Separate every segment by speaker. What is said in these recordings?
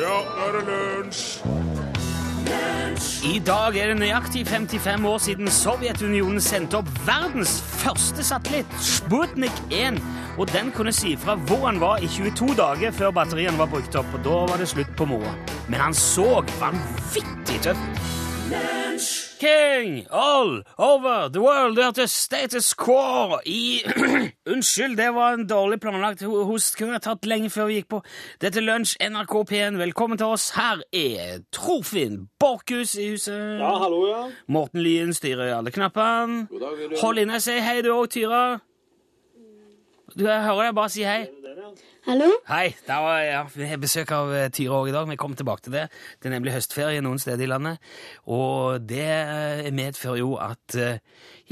Speaker 1: nå er det lunsj!
Speaker 2: I dag er det nøyaktig 55 år siden Sovjetunionen sendte opp verdens første satellitt, Sputnik 1. Og den kunne si fra hvor han var i 22 dager før batterien var brukt opp. Og da var det slutt på moroa. Men han så vanvittig tøff ut. King all over the world hørte status quo i Unnskyld, det var en dårlig planlagt ho- host. Kunne jeg tatt lenge før vi gikk på. Dette er Lunsj, NRK P1. Velkommen til oss. Her er Trofinn Borchhus i huset.
Speaker 3: Ja, hallo, ja.
Speaker 2: Morten Lyen styrer i alle knappene.
Speaker 3: God dag, William.
Speaker 2: Hold inne, si hei du òg, Tyra. Du, jeg hører deg bare si hei.
Speaker 4: Hallo?
Speaker 2: Hei, der var ja, vi har besøk av eh, Tyra også i dag. Vi kommer tilbake til det. Det er nemlig høstferie noen steder i landet. Og det eh, medfører jo at eh,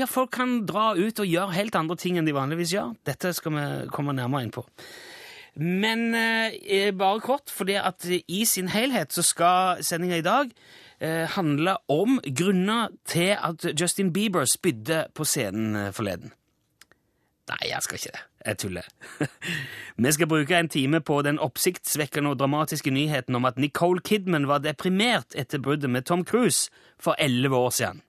Speaker 2: ja, folk kan dra ut og gjøre helt andre ting enn de vanligvis gjør. Dette skal vi komme nærmere inn på. Men eh, eh, bare kort, fordi at i sin helhet så skal sendinga i dag eh, handle om grunner til at Justin Bieber spydde på scenen eh, forleden. Nei, jeg skal ikke det. Jeg tuller. Vi skal bruke en time på den oppsiktsvekkende og dramatiske nyheten om at Nicole Kidman var deprimert etter bruddet med Tom Cruise for elleve år siden.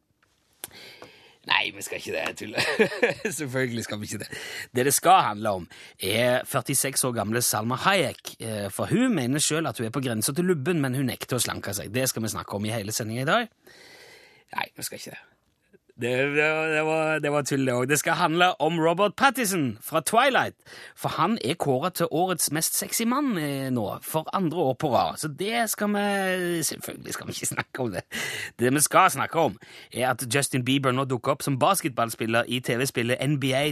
Speaker 2: Nei, vi skal ikke det. Jeg tuller. Selvfølgelig skal vi ikke det. Det det skal handle om, er 46 år gamle Salma Hayek. Eh, For hun mener sjøl at hun er på grensa til lubben, men hun nekter å slanke seg. Det skal vi snakke om i hele sendinga i dag. Nei, vi skal ikke det. Det, det, det, var, det var tull, det òg. Det skal handle om Robert Pattison fra Twilight. For han er kåra til årets mest sexy mann eh, nå, for andre år på rad. Så det skal vi Selvfølgelig skal vi ikke snakke om det. Det vi skal snakke om, er at Justin Bieber nå dukker opp som basketballspiller i TV-spillet NBA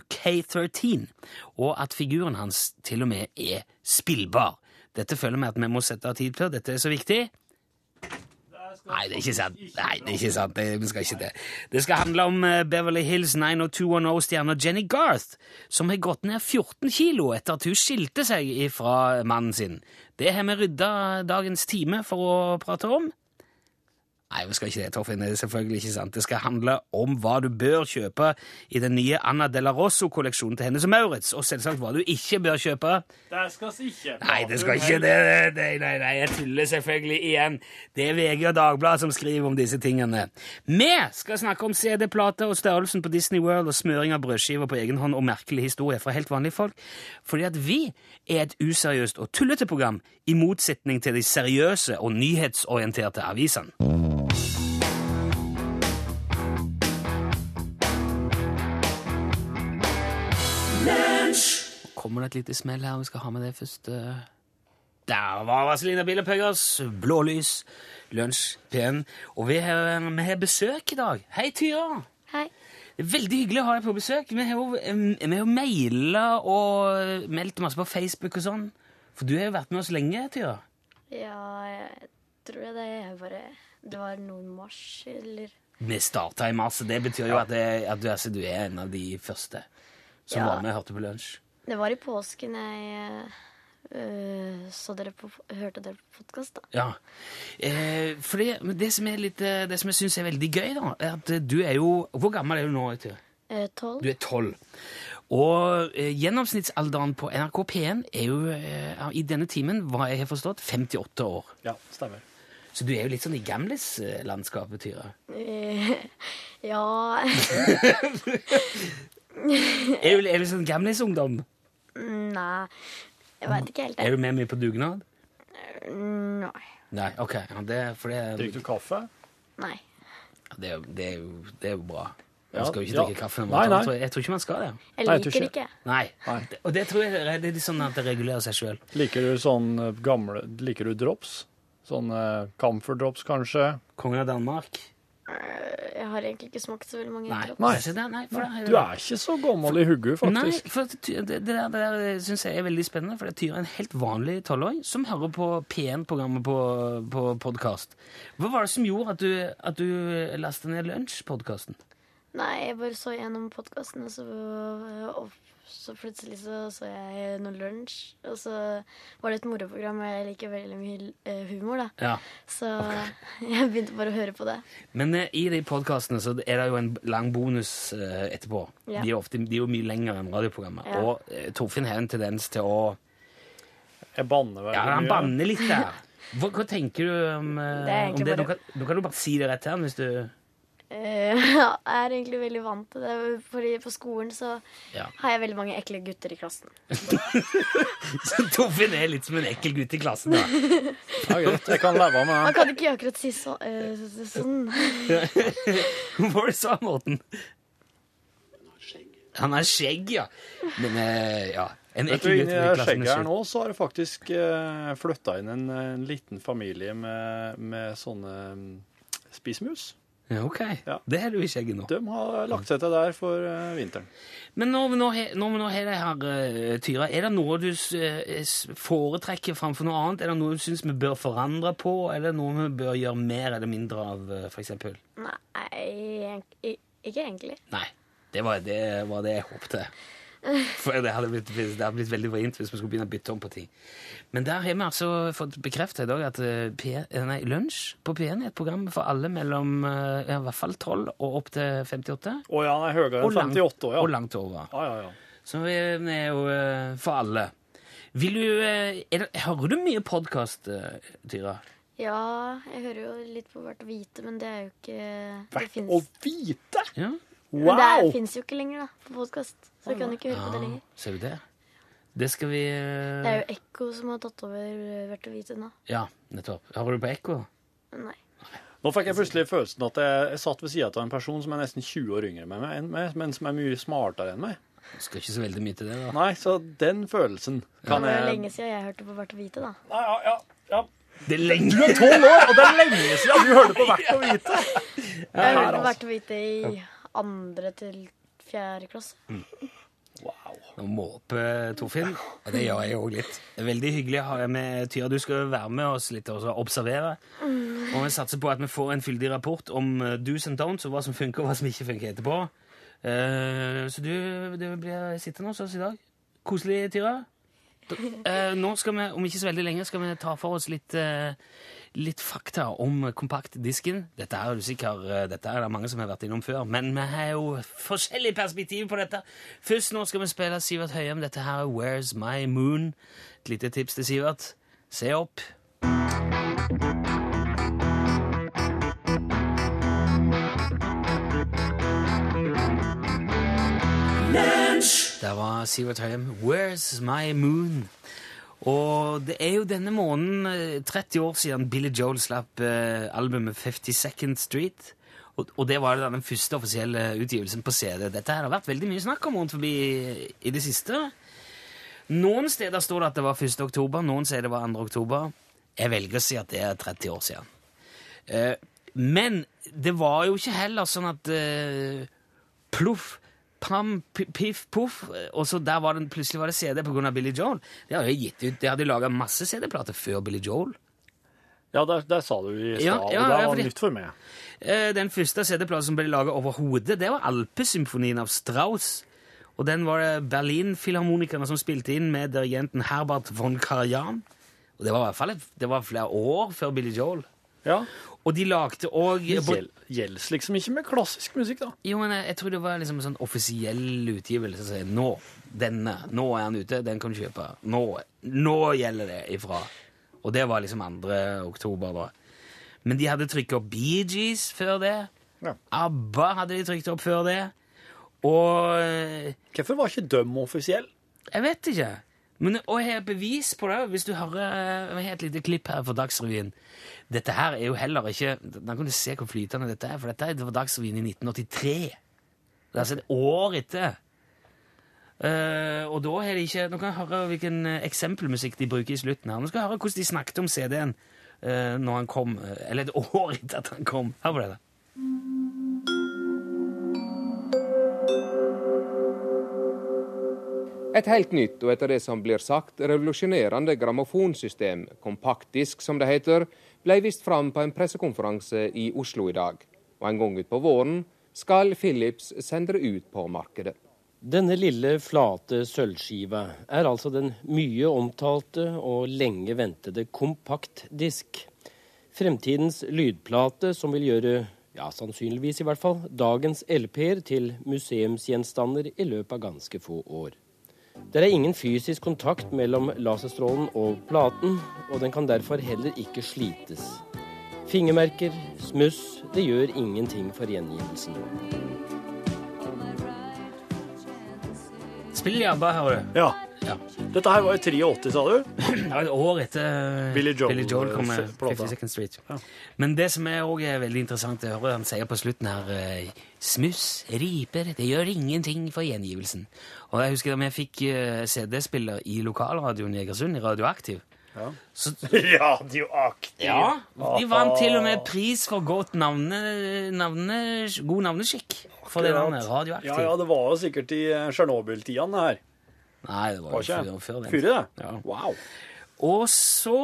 Speaker 2: 2K13, og at figuren hans til og med er spillbar. Dette føler vi at vi må sette av tid til. Dette er så viktig. Nei, det er ikke sant. Nei, det er ikke sant. Det, vi skal ikke det. Det skal handle om eh, Beverly Hills 90210-stjerna Jenny Garth, som har gått ned 14 kilo etter at hun skilte seg fra mannen sin. Det har vi rydda dagens time for å prate om. Nei, vi skal ikke det, Torfinn. Det er selvfølgelig ikke sant. Det skal handle om hva du bør kjøpe i den nye Anna Della Rosso-kolleksjonen til Hennes og Maurits, og selvsagt hva du ikke bør kjøpe.
Speaker 1: Det skal vi ikke
Speaker 2: Nei, det skal ikke det. det- Nei, nei, nei, jeg tuller selvfølgelig igjen. Det er VG og Dagbladet som skriver om disse tingene. Vi skal snakke om CD-plater og størrelsen på Disney World og smøring av brødskiver på egen hånd og merkelige historier fra helt vanlige folk. Fordi at vi er et useriøst og tullete program i motsetning til de seriøse og nyhetsorienterte avisene. Kommer det et lite smell her? Vi skal ha med det først. eh. Der var Vazelina Billepøggers Blålys, Lunsj, P1. Og vi har, vi har besøk i dag. Hei, Tyra!
Speaker 4: Hei.
Speaker 2: Det er Veldig hyggelig å ha deg på besøk. Vi har jo, em, vi har jo maila og meldt masse på Facebook og sånn. For du har jo vært med oss lenge, Tyra.
Speaker 4: Ja, jeg tror det er bare Det var noen mars, eller
Speaker 2: Vi starta i mars, og det betyr jo at, det, at du, altså, du er en av de første som
Speaker 4: Ja.
Speaker 2: var med og hørte på Lunsj.
Speaker 4: Det var i påsken jeg øh, så dere på Hørte dere på podkast, da.
Speaker 2: Ja. Eh, for det, men det som, er litt, eh, det som jeg syns er veldig gøy, da, er at eh, du er jo Hvor gammel er du nå? Tyra?
Speaker 4: Eh, Tolv?
Speaker 2: Du er tolv. Og eh, gjennomsnittsalderen på NRK P1 er jo eh, i denne timen, hva jeg har forstått, 58 år.
Speaker 1: Ja, stemmer.
Speaker 2: Så du er jo litt sånn i gamlis-landskapet, Tyra.
Speaker 4: Eh, ja
Speaker 2: Er du, er du sånn gamlis-ungdom?
Speaker 4: Nei. Jeg veit ikke helt.
Speaker 2: Er du med mye på dugnad?
Speaker 4: jeg. Nei.
Speaker 2: Nei, OK. Ja, det, for det,
Speaker 1: Drikker du kaffe?
Speaker 4: Nei.
Speaker 2: det, er jo- det, er jo, det er jo bra. Man
Speaker 1: Ja,
Speaker 2: skal jo ikke
Speaker 1: ja.
Speaker 2: drikke kaffe. når man
Speaker 1: Nei,
Speaker 2: er
Speaker 1: nei.
Speaker 2: tolv, tror jeg. jeg tror ikke man skal det.
Speaker 4: Jeg
Speaker 1: Nei, jeg tror
Speaker 4: liker
Speaker 1: ikke
Speaker 4: ikke.
Speaker 2: Nei.
Speaker 1: Nei.
Speaker 2: Og det tror jeg det er litt sånn at det regulerer seg sjøl.
Speaker 1: Liker du sånn eh, gamle Liker du drops? Sånne camphor drops, kanskje?
Speaker 2: Kongen av Danmark?
Speaker 4: Eh, Jeg har egentlig ikke smakt så veldig mange
Speaker 2: Nei.
Speaker 4: drops.
Speaker 1: Nei.
Speaker 2: Kanskje det? nei, for det-
Speaker 1: Du er ikke så gammel i hugget, faktisk.
Speaker 2: Nei, for at Ty- det, det der, det der syns jeg er veldig spennende, for det tyr en helt vanlig tolvåring som hører på P1-programmet på, på podkast. Hva var det som gjorde at du, at du eh, lastet ned Lunsj-podkasten?
Speaker 4: Nei, jeg bare så gjennom podkasten, og så, og så plutselig så, så jeg noe lunsj. Og så var det et moroprogram, og jeg liker veldig mye eh, humor, da.
Speaker 2: Ja.
Speaker 4: Så jeg begynte bare å høre på det.
Speaker 2: Men eh, i de podkastene så er det jo en lang bonus eh, etterpå.
Speaker 4: Ja.
Speaker 2: De, er ofte, de er jo mye lengre enn radioprogrammet.
Speaker 4: Ja.
Speaker 2: Og eh, Torfinn har en tendens til å
Speaker 1: Jeg banner veldig
Speaker 2: Ja, han
Speaker 1: mye.
Speaker 2: banner litt der. Hva, hva tenker du om, eh,
Speaker 4: Det er
Speaker 2: om
Speaker 4: egentlig
Speaker 2: det? Du
Speaker 4: bare-
Speaker 2: kan, du kan jo bare si det rett til han hvis du
Speaker 4: Eh, Jeg er egentlig veldig vant til det. Fordi på skolen så
Speaker 2: Ja.
Speaker 4: har jeg veldig mange ekle gutter i klassen.
Speaker 2: Så Torfinn er litt som en ekkel gutt i klassen, da.
Speaker 1: Ja, greit. Jeg kan leve med
Speaker 4: Man
Speaker 1: det.
Speaker 4: kan ikke akkurat si så, eh, så- så- sånn.
Speaker 2: Hva var det du sa, Morten? Han har skjegg, ja. Men eh, ja. En
Speaker 1: Vet du,
Speaker 2: ekkel gutt
Speaker 1: Inni
Speaker 2: i
Speaker 1: det
Speaker 2: klassen
Speaker 1: skjegget
Speaker 2: med
Speaker 1: her
Speaker 2: skjegg.
Speaker 1: nå så har det faktisk eh, flytta inn en, en liten familie med, med sånne mm, spismus.
Speaker 2: Ja, ok.
Speaker 1: Ja.
Speaker 2: Det har du i skjegget nå.
Speaker 1: De har lagt seg til der for eh, vinteren.
Speaker 2: Men når vi nå he- når vi nå har det her, eh, Tyra, er det noe du s- eh, s- foretrekker framfor noe annet? Er det noe du syns vi bør forandre på, eller noe vi bør gjøre mer eller mindre av, eh, for eksempel?
Speaker 4: Nei, egent- i- ikke egentlig.
Speaker 2: Nei. Det var det, var det jeg håpte. For det hadde, blitt, det hadde blitt veldig vrient hvis vi skulle begynne å bytte om på ting. Men der har vi altså fått bekrefta i dag at eh, P, eh, nei, Lunsj på P1 er et program for alle mellom eh, ja, i hvert fall 12 og opp til 58.
Speaker 1: Å ja, han er høyere
Speaker 2: Og
Speaker 1: enn
Speaker 2: langt,
Speaker 1: 58 år,
Speaker 2: og
Speaker 1: ja.
Speaker 2: langt over.
Speaker 1: Ja, ja, ja.
Speaker 2: Så vi er jo eh, for alle. Vil du eh, er det, Hører du mye podkast, Tyra?
Speaker 4: Ja, jeg hører jo litt på hvert hvite, men det er jo ikke Det
Speaker 1: Verdt
Speaker 4: fins
Speaker 1: å vite!
Speaker 2: Ja.
Speaker 4: Men det
Speaker 1: Wow!
Speaker 4: er- finnes jo ikke lenger, da, på podkast. Så jeg kan jo ikke høre på det lenger.
Speaker 2: Ah, ser du det? Det skal vi eh,
Speaker 4: Det er jo Ekko som har tatt over eh, Hvert og hvite nå.
Speaker 2: Ja, nettopp. Hører du på ekko?
Speaker 4: Nei.
Speaker 1: Nå fikk jeg plutselig følelsen at jeg, jeg satt ved sida av en person som er nesten 20 år yngre enn meg, enn meg, men som er mye smartere enn meg.
Speaker 2: Skal ikke så veldig mye til det, da.
Speaker 1: Nei, så den følelsen
Speaker 4: Det
Speaker 1: kan
Speaker 4: var jo
Speaker 1: jeg
Speaker 4: lenge siden jeg hørte på Hvert og hvite, da.
Speaker 1: Nei, ja, ja, ja.
Speaker 2: Det er lenge!
Speaker 1: Du er tolv år, og det er lenge siden du hørte på Verdt å vite!
Speaker 4: Jeg har hørt på Hvert og hvite i andre til fjerde klasse.
Speaker 2: Nå måper Torfinn, og det gjør jeg òg litt. Det er Veldig hyggelig å ha deg med, Tyra. Du skal jo være med oss litt og så observere. Og vi satser på at vi får en fyldig rapport om eh, do's and don'ts, og hva som funker og hva som ikke funker etterpå. Eh, så du, du blir sittende hos oss i dag. Koselig, Tyra. Eh, nå skal vi, om ikke så veldig lenge, skal vi ta for oss litt, eh, litt fakta om kompaktdisken. Dette er, jo sikker, eh, dette er det mange som har vært innom før, men vi har jo forskjellig perspektiv på dette. Først nå skal vi spille Sivert Høyem. Dette her er Where's My Moon. Et lite tips til Sivert. Se opp. Der var Sivert Høyem. Where's my moon? Og det er jo denne måneden eh, 30 år siden Billy Joel slapp eh, albumet 52nd Street. Og, og det var da den første offisielle utgivelsen på CD. Dette her har vært veldig mye snakk om rundt forbi eh, i det siste. Noen steder står det at det var 1. oktober, noen sier det var 2. oktober. Jeg velger å si at det er 30 år siden. Eh, men det var jo ikke heller sånn at eh, pluff, pam, pi- piff, poff, og så der var den, plutselig var det CD på grunn av Billy Joel. Det hadde jo gitt ut, de hadde laget masse CD-plater før Billy Joel.
Speaker 1: Ja, der, der sa du i
Speaker 2: Ja,
Speaker 1: stad, og
Speaker 2: ja,
Speaker 1: det
Speaker 2: ja,
Speaker 1: var
Speaker 2: fordi-
Speaker 1: nytt for meg.
Speaker 2: Eh, Den første CD-platen som ble laget overhodet, det var Alpesymfonien av Strauss. Og den var det Berlin-filharmonikerne som spilte inn med dirigenten Herbert von Karajan. Og det var i hvert fall et, det var flere år før Billy Joel.
Speaker 1: Ja.
Speaker 2: Og de lagde
Speaker 1: Det
Speaker 2: også...
Speaker 1: gjel- Gjelds liksom ikke med klassisk musikk, da.
Speaker 2: Jo, men jeg, jeg tror det var liksom en sånn offisiell utgivelse som sier nå, denne, nå er han ute, den kan du kjøpe. Nå, nå gjelder det ifra. Og det var liksom 2. oktober da. Men de hadde trykket opp Bee Gees før det.
Speaker 1: Ja.
Speaker 2: ABBA hadde de trykt opp før det. Og eh,
Speaker 1: Hvorfor var ikke døm offisiell?
Speaker 2: jeg vet ikke. Men, og jeg har bevis på det, hvis du hører jeg har et lite klipp her fra Dagsrevyen. Dette her er jo heller ikke Da kan du se hvor flytende dette er, for dette er fra Dagsrevyen i 1983. Det er altså et år etter. Eh, og da har de ikke Nå kan jeg høre hvilken eh, eksempelmusikk de bruker i slutten her. Nå skal jeg høre hvordan de snakket om CD-en eh, når han kom, eh, eller et år etter at han kom. Hør på det. da.
Speaker 3: Et helt nytt og etter det som blir sagt revolusjonerende grammofonsystem, kompaktdisk som det heter, ble vist fram på en pressekonferanse i Oslo i dag. Og en gang utpå våren skal Philips sende det ut på markedet.
Speaker 5: Denne lille, flate sølvskiva er altså den mye omtalte og lenge ventede kompaktdisk. Fremtidens lydplate som vil gjøre, ja sannsynligvis i hvert fall, dagens LP-er til museumsgjenstander i løpet av ganske få år. Det er ingen fysisk kontakt mellom laserstrålen og platen, og den kan derfor heller ikke slites. Fingermerker, smuss, det gjør ingenting for gjengivelsen.
Speaker 2: Spill jabba, hører du.
Speaker 1: Ja.
Speaker 2: Ja.
Speaker 1: Dette her var i 83, sa du?
Speaker 2: Det var et år etter eh,
Speaker 1: Billy Joel,
Speaker 2: kom med
Speaker 1: eh, plata.
Speaker 2: 52nd Street. Men det som er også er veldig interessant å høre, han sier på slutten her eh, Smuss, riper, det gjør ingenting for gjengivelsen. Og jeg husker da vi fikk eh, CD-spiller i lokalradioen i Egersund, i Radioaktiv. Så,
Speaker 1: Radioaktiv.
Speaker 2: ja, de vant til og med pris for godt navne, navne, god navneskikk for det
Speaker 1: Akkurat.
Speaker 2: navnet. Radioaktiv.
Speaker 1: Ja, ja, det var jo sikkert i eh, Tsjernobyl-tidene her.
Speaker 2: Nei, det var
Speaker 1: Var
Speaker 2: jo
Speaker 1: ikke
Speaker 2: før, før den.
Speaker 1: Fyre, det?
Speaker 2: Ja.
Speaker 1: Wow.
Speaker 2: Og så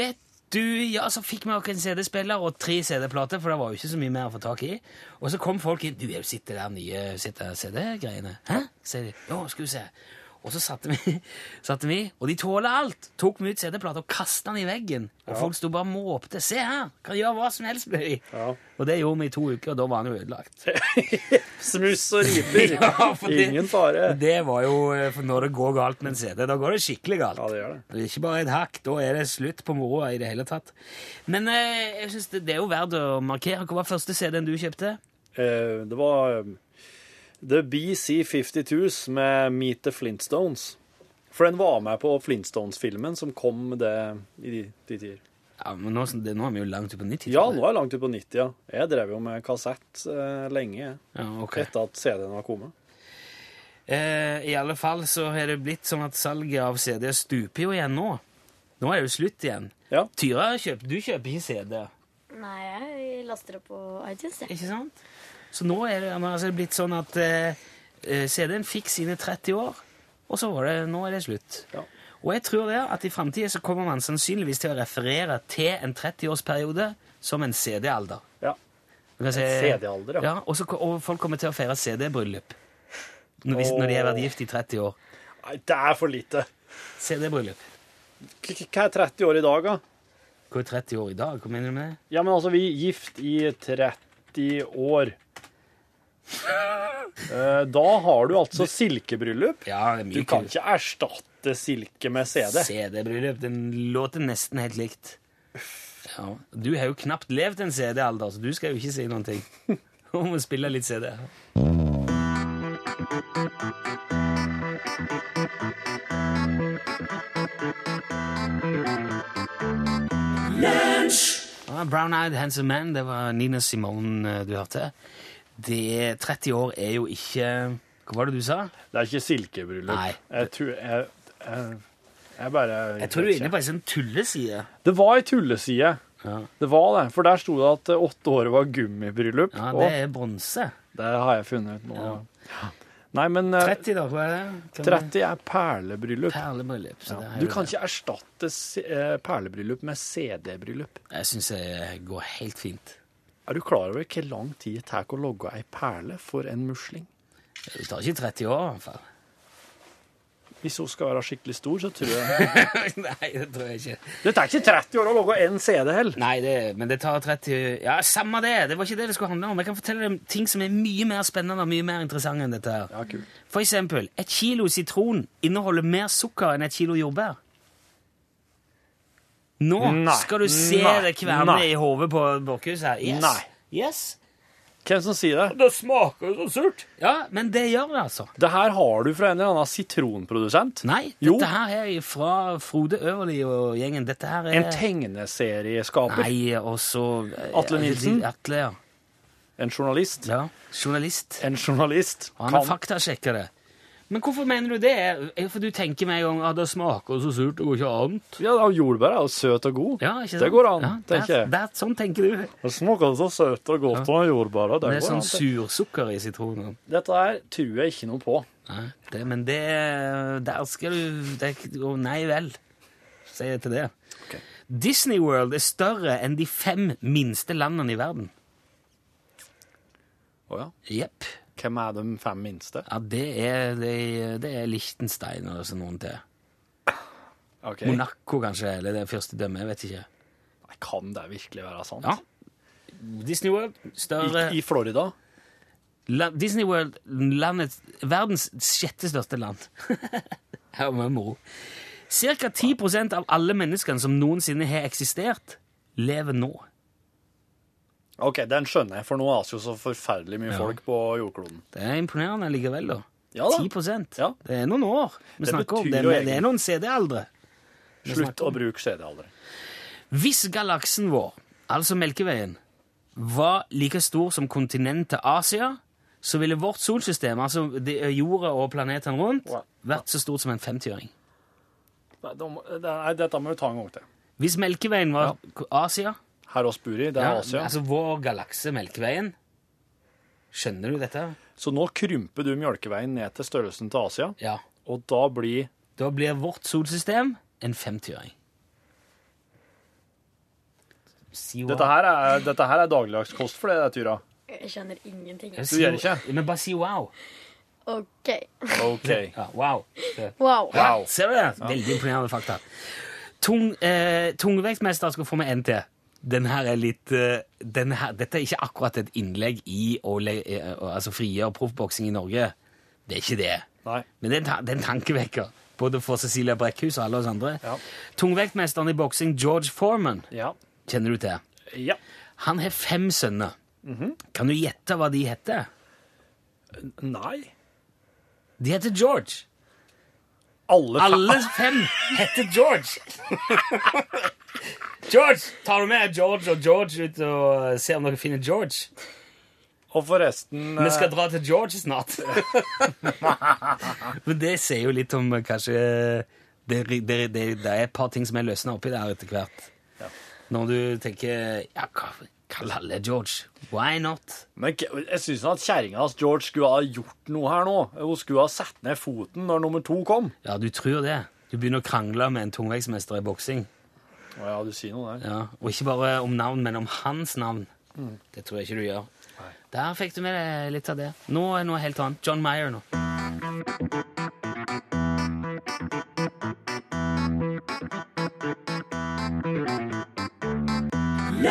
Speaker 2: vet du, ja, så fikk vi også en CD-spiller og tre CD-plater, for det var jo ikke så mye mer å få tak i. Og så kom folk inn. Du, jeg sitter der nye sitter CD-greiene. Hæ? Sier de. Jo, skal vi se. Og så satte vi, satte vi, og de tåler alt, tok vi ut CD-plater og kastet den i veggen. Og folk sto bare og måpte. Se her, kan gjøre hva som helst med de.
Speaker 1: Ja.
Speaker 2: Og det gjorde vi i to uker, og da var den jo ødelagt.
Speaker 1: Smuss og riper.
Speaker 2: Ja, for det-
Speaker 1: Ingen fare.
Speaker 2: Det var jo, eh, for når det går galt med en CD, da går det skikkelig galt.
Speaker 1: Ja, det gjør det.
Speaker 2: Det er ikke bare et hakk, da er det slutt på moroa i det hele tatt. Men eh, jeg synes det, det er jo verdt å markere. Hva var første CD-en du kjøpte?
Speaker 1: Eh, Det var eh, The BC52s med Meet the Flintstones. For den var med på Flintstones-filmen som kom det i de, de tider.
Speaker 2: Ja, men nå, det, nå er vi jo langt ut på 90-tallet.
Speaker 1: Ja, nå er jeg langt ut på 90, ja. Jeg drev jo med kassett eh, lenge jeg,
Speaker 2: Ja, ok.
Speaker 1: etter at CD-en var kommet.
Speaker 2: Eh, I alle fall så har det blitt sånn at salget av CD stuper jo igjen nå. Nå er det jo slutt igjen.
Speaker 1: Ja.
Speaker 2: Tyra, kjøp, du kjøper ikke CD,
Speaker 4: Nei, jeg laster opp på iTunes, jeg.
Speaker 2: ikke sant? Så nå er det, men altså, det er blitt sånn at eh, eh, CD-en fikk sine 30 år, og så var det, nå er det slutt.
Speaker 1: Ja.
Speaker 2: Og jeg tror det at i fremtiden så kommer man sannsynligvis til å referere til en 30-årsperiode som en CD-alder.
Speaker 1: Ja.
Speaker 2: Du kan si-
Speaker 1: CD-alder, ja.
Speaker 2: ja. og så ko- og folk kommer til å feire CD-bryllup. Når, hvis- når de har vært gift i 30 år.
Speaker 1: Nei, det er for lite.
Speaker 2: CD-bryllup.
Speaker 1: K- k- Hva er 30 år i dag, da?
Speaker 2: Hvor er 30 år i dag? Hva mener du med det?
Speaker 1: Ja, men altså, vi er gift i 30 år. Eh, Da har du altså silkebryllup.
Speaker 2: Ja, det er mye
Speaker 1: Du kan
Speaker 2: kult.
Speaker 1: ikke erstatte silke med CD.
Speaker 2: CD-bryllup. Den låter nesten helt likt. Ja. Du har jo knapt levd en CD-alder, så du skal jo ikke si noen ting. Om å spille litt CD. Ja, Brown Eyed Handsome Man, det var Nina Simone eh, du hørte. Det 30 år er jo ikke Hva var det du sa?
Speaker 1: Det er ikke silkebryllup.
Speaker 2: Nei.
Speaker 1: Jeg tror jeg, jeg, jeg bare
Speaker 2: Jeg tror du er inne på en sånn tulleside.
Speaker 1: Det var ei tulleside.
Speaker 2: Ja.
Speaker 1: Det var det. For der sto det at eh, åtte år var gummibryllup.
Speaker 2: Ja,
Speaker 1: Og
Speaker 2: det er bronse.
Speaker 1: Det har jeg funnet ut nå. Nei, men eh,
Speaker 2: 30, da. Hva er det? Kan
Speaker 1: 30 er perlebryllup.
Speaker 2: Perlebryllup. Så det er
Speaker 1: Du
Speaker 2: jo-
Speaker 1: kan ikke erstatte se- eh, perlebryllup med CD-bryllup.
Speaker 2: Jeg syns det går helt fint.
Speaker 1: Er du klar over hvor lang tid det tar å logge ei perle for en musling?
Speaker 2: Det tar ikke 30 år, i hvert fall.
Speaker 1: Hvis hun skal være skikkelig stor, så tror jeg
Speaker 2: Nei, det tror jeg ikke.
Speaker 1: Det tar ikke 30 år å logge én CD heller.
Speaker 2: Nei, det, Men det tar 30 Ja, samme det! Det var ikke det det skulle handle om. Jeg kan fortelle deg ting som er mye mer spennende og mye mer interessant enn dette her.
Speaker 1: Ja, kult.
Speaker 2: For eksempel, et kilo sitron inneholder mer sukker enn et kilo jordbær. Nå
Speaker 1: Nei,
Speaker 2: skal du se
Speaker 1: nei,
Speaker 2: det kverne
Speaker 1: nei.
Speaker 2: i hodet på Borkhus her. Yes.
Speaker 1: Nei.
Speaker 2: Yes.
Speaker 1: Hvem som sier det?
Speaker 2: Det smaker jo så surt. Ja, men det gjør det, altså.
Speaker 1: Det her har du fra en eller annen sitronprodusent.
Speaker 2: Nei,
Speaker 1: Jo.
Speaker 2: dette her er fra Frode Øverli og gjengen. Dette her er
Speaker 1: En tegneserieskaper.
Speaker 2: Nei, og så eh,
Speaker 1: Atle Nilsen?
Speaker 2: Atle, ja.
Speaker 1: En journalist.
Speaker 2: ja. Journalist.
Speaker 1: En journalist
Speaker 2: Han
Speaker 1: kan
Speaker 2: er faktasjekker det. Men hvorfor mener du det? Er- For du tenker med en gang at det smaker så surt, det går ikke annet.
Speaker 1: Ja, da, jordbær er jo søt og god.
Speaker 2: Ja, ikke sant?
Speaker 1: Det går an,
Speaker 2: Ja, det er-
Speaker 1: tenker jeg.
Speaker 2: Det er, sånn tenker du.
Speaker 1: Det smaker så søtt og godt av jordbæra.
Speaker 2: Det er sånn sursukker i sitronen.
Speaker 1: Dette her tror jeg ikke noe på.
Speaker 2: Nei, det, men det Der skal du det, å, Nei vel, sier jeg til det. Disney World er større enn de fem minste landene i verden.
Speaker 1: Å ja.
Speaker 2: Jepp.
Speaker 1: Hvem er de fem minste?
Speaker 2: Ja, det er, det, det er Liechtenstein og sånn noen til.
Speaker 1: Ok.
Speaker 2: Monaco, kanskje, eller det første dømmet, jeg vet ikke.
Speaker 1: Nei, Kan det virkelig være sant?
Speaker 2: Ja. Disney World,
Speaker 1: I,
Speaker 2: større
Speaker 1: I Florida?
Speaker 2: La, Disney World, landets, verdens sjette største land. Her var moro. Cirka 10 av alle menneskene som noensinne har eksistert, lever nå.
Speaker 1: OK, den skjønner jeg, for nå er det jo så forferdelig mye
Speaker 2: Ja.
Speaker 1: folk på jordkloden.
Speaker 2: Det er imponerende likevel, da.
Speaker 1: Ja da.
Speaker 2: 10
Speaker 1: Ja.
Speaker 2: Det er noen år vi
Speaker 1: Det
Speaker 2: snakker om.
Speaker 1: betyr
Speaker 2: Det,
Speaker 1: jo
Speaker 2: er- det er noen CD-aldre. vi
Speaker 1: Slutt
Speaker 2: snakker
Speaker 1: å
Speaker 2: om.
Speaker 1: bruke CD-alderen.
Speaker 2: Hvis galaksen vår, altså Melkeveien, var like stor som kontinentet Asia, så ville vårt solsystem, altså det- jorda og planeten rundt, vært så stort som en 50-øring.
Speaker 1: Nei, da må- det- nei, dette må vi ta en gang til.
Speaker 2: Hvis Melkeveien var Asia,
Speaker 1: Her oss bor i, det er
Speaker 2: ja,
Speaker 1: Asia.
Speaker 2: altså vår galakse Melkeveien Skjønner du dette?
Speaker 1: Så nå krymper du mjølkeveien ned til størrelsen til Asia,
Speaker 2: Ja.
Speaker 1: og da blir
Speaker 2: Da blir vårt solsystem en 50-øring. Si hva-
Speaker 1: Dette her er, dette her er dagligdags kost for deg, det, Tyra.
Speaker 4: Jeg skjønner ingenting.
Speaker 2: Ja, si-
Speaker 1: gjør det ikke.
Speaker 2: Men bare si wow.
Speaker 4: OK.
Speaker 1: OK.
Speaker 2: Ja, wow.
Speaker 4: Wow.
Speaker 1: Wow.
Speaker 2: Ser du det? Veldig imponerende fakta. Tung, eh, tungvektsmester skal få med en til. Den her er litt eh, den her, Dette er ikke akkurat et innlegg i å le, eh, altså frigjøre proffboksing i Norge. Det er ikke det.
Speaker 1: Nei.
Speaker 2: Men det er en ta- det er en tankevekker, både for Cecilia Brekkhus og alle oss andre.
Speaker 1: Ja.
Speaker 2: Tungvektmesteren i boksing, George Foreman,
Speaker 1: Ja.
Speaker 2: kjenner du til?
Speaker 1: ja.
Speaker 2: Han har fem sønner. Kan du gjette hva de heter?
Speaker 1: Nei.
Speaker 2: De heter George.
Speaker 1: Alle, fa-
Speaker 2: Alle fem heter George. George! Tar du med George og George ut og eh, ser om dere finner George?
Speaker 1: Og forresten
Speaker 2: Vi skal dra til George snart. Men det sier jo litt om eh, kanskje det, det, det, det er et par ting som er løsna oppi der etter hvert. Når du tenker Ja, hva kall alle George. Why not?
Speaker 1: Men k- jeg syns at kjerringa hans George skulle ha gjort noe her nå. Hun skulle ha satt ned foten når nummer to kom.
Speaker 2: Ja, du tror det. Du begynner å krangle med en tungvektsmester i boksing.
Speaker 1: Å ja, du sier noe der.
Speaker 2: Ja, og ikke bare om navn, men om hans navn. Det tror jeg ikke du gjør. Der fikk du med deg litt av det. Nå er noe helt annet. John Mayer nå.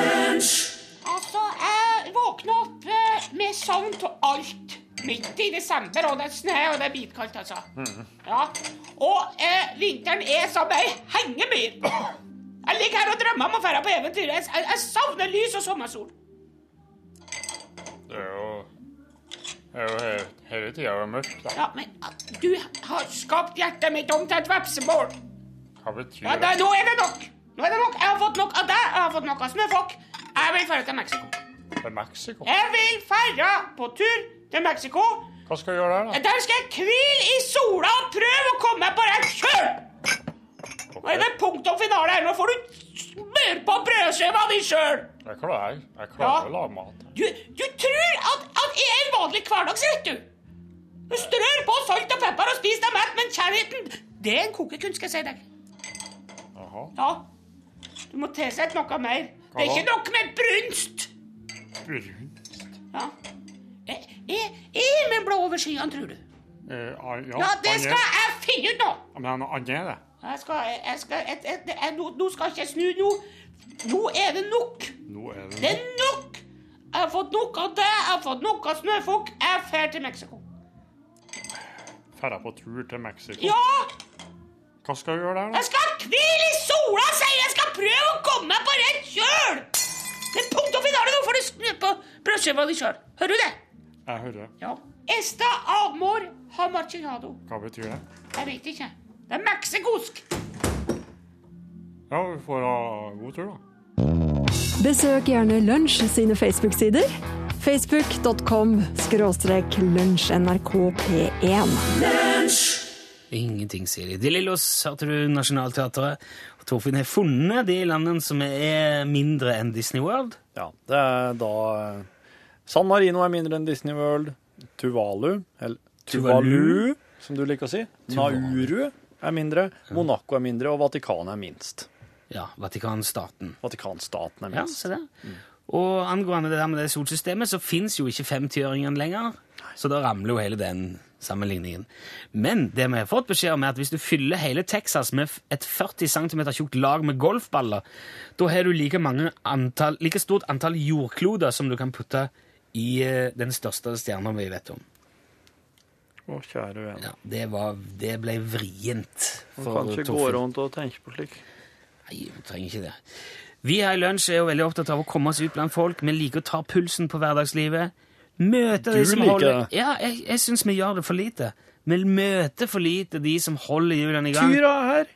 Speaker 6: Altså, jeg våkna opp eh, med savn av alt. Midt i desember, og det er snø, og det er bitkaldt, altså. Ja. Og eh, vinteren er som ei hengemyr. Jeg ligger her og drømmer om å dra på eventyr. Jeg, jeg, jeg savner lys og sommersol.
Speaker 7: Det er jo, det er jo hele, hele tida vært mørkt, da.
Speaker 6: Ja, men ah, du har skapt hjertet mitt om til et vepsebål.
Speaker 7: Hva betyr
Speaker 6: Ja,
Speaker 7: det?
Speaker 6: da, nå er det nok. Nå er det nok. Jeg har fått nok av deg. Jeg har fått nok av snøfokk. Jeg vil dra til Mexico.
Speaker 7: Det er Mexico.
Speaker 6: Jeg vil dra på tur til Mexico.
Speaker 7: Hva skal du gjøre der,
Speaker 6: Der skal jeg hvile i sola og prøve å komme meg på rett kjøl!
Speaker 7: da?
Speaker 6: Nå er det punktum finale her. Nå får du smør på brødskiva di sjøl!
Speaker 7: Jeg klarer, jeg klarer
Speaker 6: Ja.
Speaker 7: å lage mat.
Speaker 6: Du, du tror at, at jeg er en vanlig hverdagsrett, du. Du strør på salt og pepper og spiser deg mett, men kjærligheten Det er en kokekunst, skal jeg si deg.
Speaker 7: Jaha.
Speaker 6: Ja. Du må tilsette noe mer. Det er
Speaker 7: Hva da?
Speaker 6: ikke nok med brunst.
Speaker 7: Eh, Brun.
Speaker 6: Ja. Er- Er er himmelen blå over skyene, tror du?
Speaker 7: Eh, an- ja,
Speaker 6: Ja, det
Speaker 7: han er-
Speaker 6: skal jeg finne ut nå.
Speaker 7: Men han- han er det.
Speaker 6: Jeg skal, jeg, jeg skal jeg, jeg, jeg, nå, nå skal ikke jeg snu nå. Nå er det nok.
Speaker 7: Nå er det
Speaker 6: Det er nok. Jeg har fått nok av det. Jeg har fått nok av snøfokk. Jeg drar til Mexico.
Speaker 7: Ferda på tur til Mexico.
Speaker 6: Ja,
Speaker 7: Hva skal du gjøre der, da?
Speaker 6: jeg skal hvile i sola, sier jeg. Jeg skal prøve å komme meg på rett kjøl. Det er punkt og finale. Nå får du snu på brødskiva di sjøl. Hører du det?
Speaker 7: Jeg hører.
Speaker 6: Ja. Esta amor hamarchinado.
Speaker 7: Hva betyr det?
Speaker 6: Jeg vet ikke. Det er meksikosk.
Speaker 7: Ja, vi får ha god tur, da.
Speaker 8: Besøk gjerne Lunsj sine Facebook-sider. Facebook.com skråstrek lunsjnrkp1.
Speaker 2: Ingenting, sier de. De Lillos hørte du Nationaltheatret. Og Torfinn har funnet de landene som er mindre enn Disney World.
Speaker 1: Ja, det er da eh, San Marino er mindre enn Disney World. Tuvalu, eller Tuvalu, som du liker å si. Nauru er mindre. Monaco er mindre, og Vatikanet er minst.
Speaker 2: Ja, Vatikanstaten.
Speaker 1: Vatikanstaten er
Speaker 2: Ja,
Speaker 1: minst.
Speaker 2: se det. Og angående det der med det solsystemet, så fins jo ikke 50-øringen lenger. Så da ramler jo hele den sammenligningen. Men det vi har fått beskjed om, er at hvis du fyller hele Texas med f- et 40 cm tjukt lag med golfballer, da har du like, mange antall, like stort antall jordkloder som du kan putte i eh, den største stjerna vi vet om.
Speaker 1: Å, kjære vene.
Speaker 2: Ja, det, var, det ble vrient.
Speaker 1: Man kan ikke gå
Speaker 2: Torfinn.
Speaker 1: rundt og tenke på slik.
Speaker 2: Nei, vi trenger ikke det. Vi her i Lunsj er jo veldig opptatt av å komme oss ut blant folk. Vi liker å ta pulsen på hverdagslivet. Møte de
Speaker 9: Du
Speaker 2: som
Speaker 9: liker
Speaker 2: holder
Speaker 9: det.
Speaker 2: Ja, jeg, jeg syns vi gjør det for lite. Vi møter for lite de som holder hjulene i gang.
Speaker 1: Tyra er her!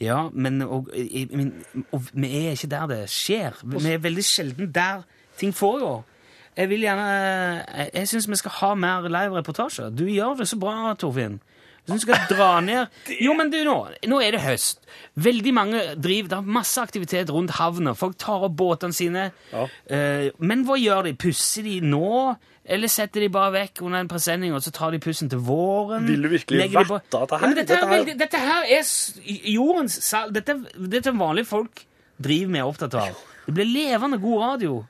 Speaker 2: Ja, men og, i- i- men- og vi er ikke der det skjer. Vi er veldig sjelden der ting foregår. Jeg vil gjerne Jeg, jeg syns vi skal ha mer live-reportasjer. Du gjør det så bra, Torfinn. Jeg syns du skal dra ned Jo, men du, nå, nå er det høst. Veldig mange driver Det er masse aktivitet rundt havna. Folk tar opp båtene sine. Eh, men hva gjør de? Pusser de nå? Eller setter de bare vekk under en presenning, og så tar de pussen til våren?
Speaker 1: Vil du virkelig
Speaker 2: Legger de på-
Speaker 1: vette dette her?
Speaker 2: Ja, men dette,
Speaker 1: Dette
Speaker 2: er
Speaker 1: her-
Speaker 2: veldig, dette her er s- jordens sal... Dette, dette er vanlige folk driver med og er opptatt av. Det blir levende god radio.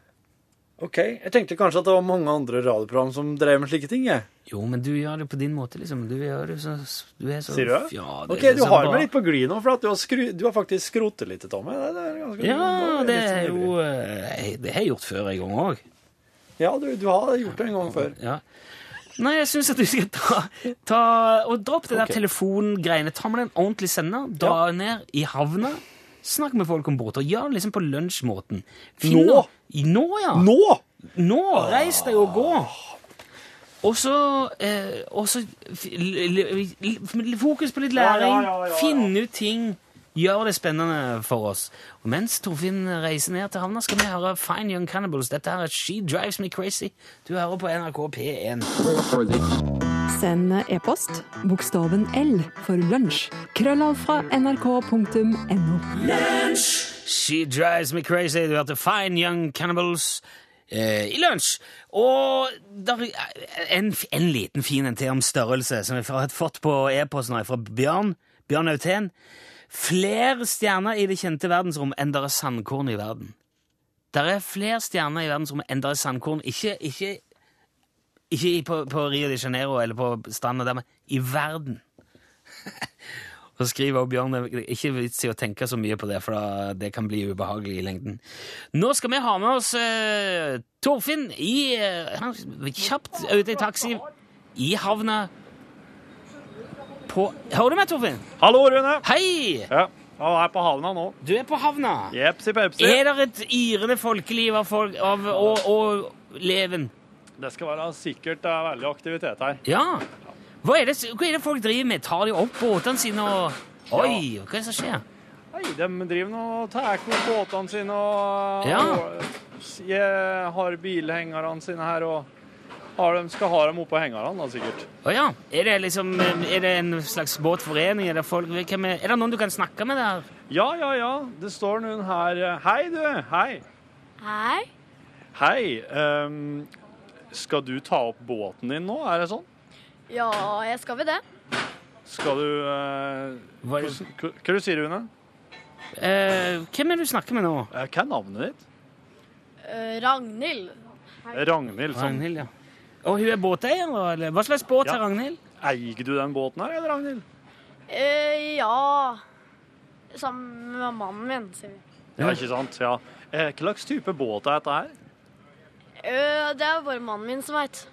Speaker 1: OK. Jeg tenkte kanskje at det var mange andre radioprogram som drev med slike ting, jeg.
Speaker 2: Jo, men du gjør det på din måte, liksom. Du gjør det så... Du er så
Speaker 1: Sier du det?
Speaker 2: Ja, det
Speaker 1: OK,
Speaker 2: er sånn
Speaker 1: du
Speaker 2: så
Speaker 1: har
Speaker 2: bra.
Speaker 1: meg litt på glid nå, for at du, har skru, du har faktisk skrotet litt, Tommy. Det, det er ganske
Speaker 2: Ja,
Speaker 1: nå
Speaker 2: det
Speaker 1: jeg
Speaker 2: er
Speaker 1: litt sånn
Speaker 2: jo... eh, Det har jeg gjort før en gang også.
Speaker 1: Ja, du, du har gjort det en gang før.
Speaker 2: Ja. Nei, jeg syns at du skal ta, ta Og dropp det der telefongreiene. Ta med deg en ordentlig sender, dra ned i havna. Snakk med folk om båter. Gjør det liksom på lunsjmåten. Finn
Speaker 1: Nå?
Speaker 2: noe- I- Nå, ja.
Speaker 1: Nå!
Speaker 2: Nå! Reis deg og gå. Og så eh, og så f- l- l- l- Fokus på litt læring. Finn ut ting. Gjør det spennende for oss. Og mens Torfinn reiser ned til havna, skal vi høre Fine Young Cannibals. Dette her er She Drives Me Crazy. Du hører på NRK P1.
Speaker 8: Send e-post bokstaven L for lunsj. Krøllalfra nrk.no.
Speaker 2: She Drives Me Crazy. Du hørte Fine Young Cannibals eh, i lunsj. Og der, er en, en liten fin en til om størrelse, som jeg har fått på e-posten her fra Bjørn. Bjørn Autén. Flere stjerner i det kjente verdensrom enn der er sandkorn i verden. Der er flere stjerner i verdensrommet enn der er sandkorn. Ikke, ikke, ikke i- på, på Rio de Janeiro eller på stranda der, men i verden. Så skriver også Bjørn det er ikke vits i å tenke så mye på det, for da, det kan bli ubehagelig i lengden. Nå skal vi ha med oss eh, Torfinn i, eh, han, kjapt ut i taxi i havna på Hører du meg, Torfinn?
Speaker 1: Hallo, Rune.
Speaker 2: Hei!
Speaker 1: Ja, han er på havna nå.
Speaker 2: Du er på havna.
Speaker 1: Jepsi pepsi.
Speaker 2: Er det et yrende folkeliv av, folk, av å, å leven?
Speaker 1: Det skal være sikkert det er veldig aktivitet her.
Speaker 2: Ja. Hva er, det, hva er det folk driver med? Tar de opp båtene sine og Oi, hva er det som skjer?
Speaker 1: Nei, de driver nå og tar opp båtene sine og,
Speaker 2: Ja.
Speaker 1: og s- je- har bilhengerne sine her og har dem, skal ha dem oppå hengerne, da, sikkert.
Speaker 2: Å ja. Er det liksom Er det en slags båtforening? Er det, folk, hvem er, er det noen du kan snakke med der?
Speaker 1: Ja, ja, ja. Det står noen her. Hei, du. Hei.
Speaker 4: Hei.
Speaker 1: Hei. ehm, skal du ta opp båten din nå? Er det sånn?
Speaker 4: Ja, jeg skal vel det.
Speaker 1: Skal du eh,
Speaker 2: Hva, er-
Speaker 1: hvordan- Hva hva du sier du, Rune?
Speaker 2: eh, hvem er det du snakker med nå?
Speaker 1: Eh, Hva er navnet ditt?
Speaker 4: Eh, Ragnhild.
Speaker 1: Ragnhild. Sånn.
Speaker 2: Ragnhild, ja. Og hun er båteier, da? Eller hva slags båt er
Speaker 1: Ja.
Speaker 2: Ragnhild?
Speaker 1: Eier du den båten her, eller, Ragnhild?
Speaker 4: Eh, ja Sammen med mannen min, sier vi.
Speaker 1: Ja, ikke sant? Ja. Eh, Hva slags type båt er dette her?
Speaker 4: Eh, det er bare mannen min som veit.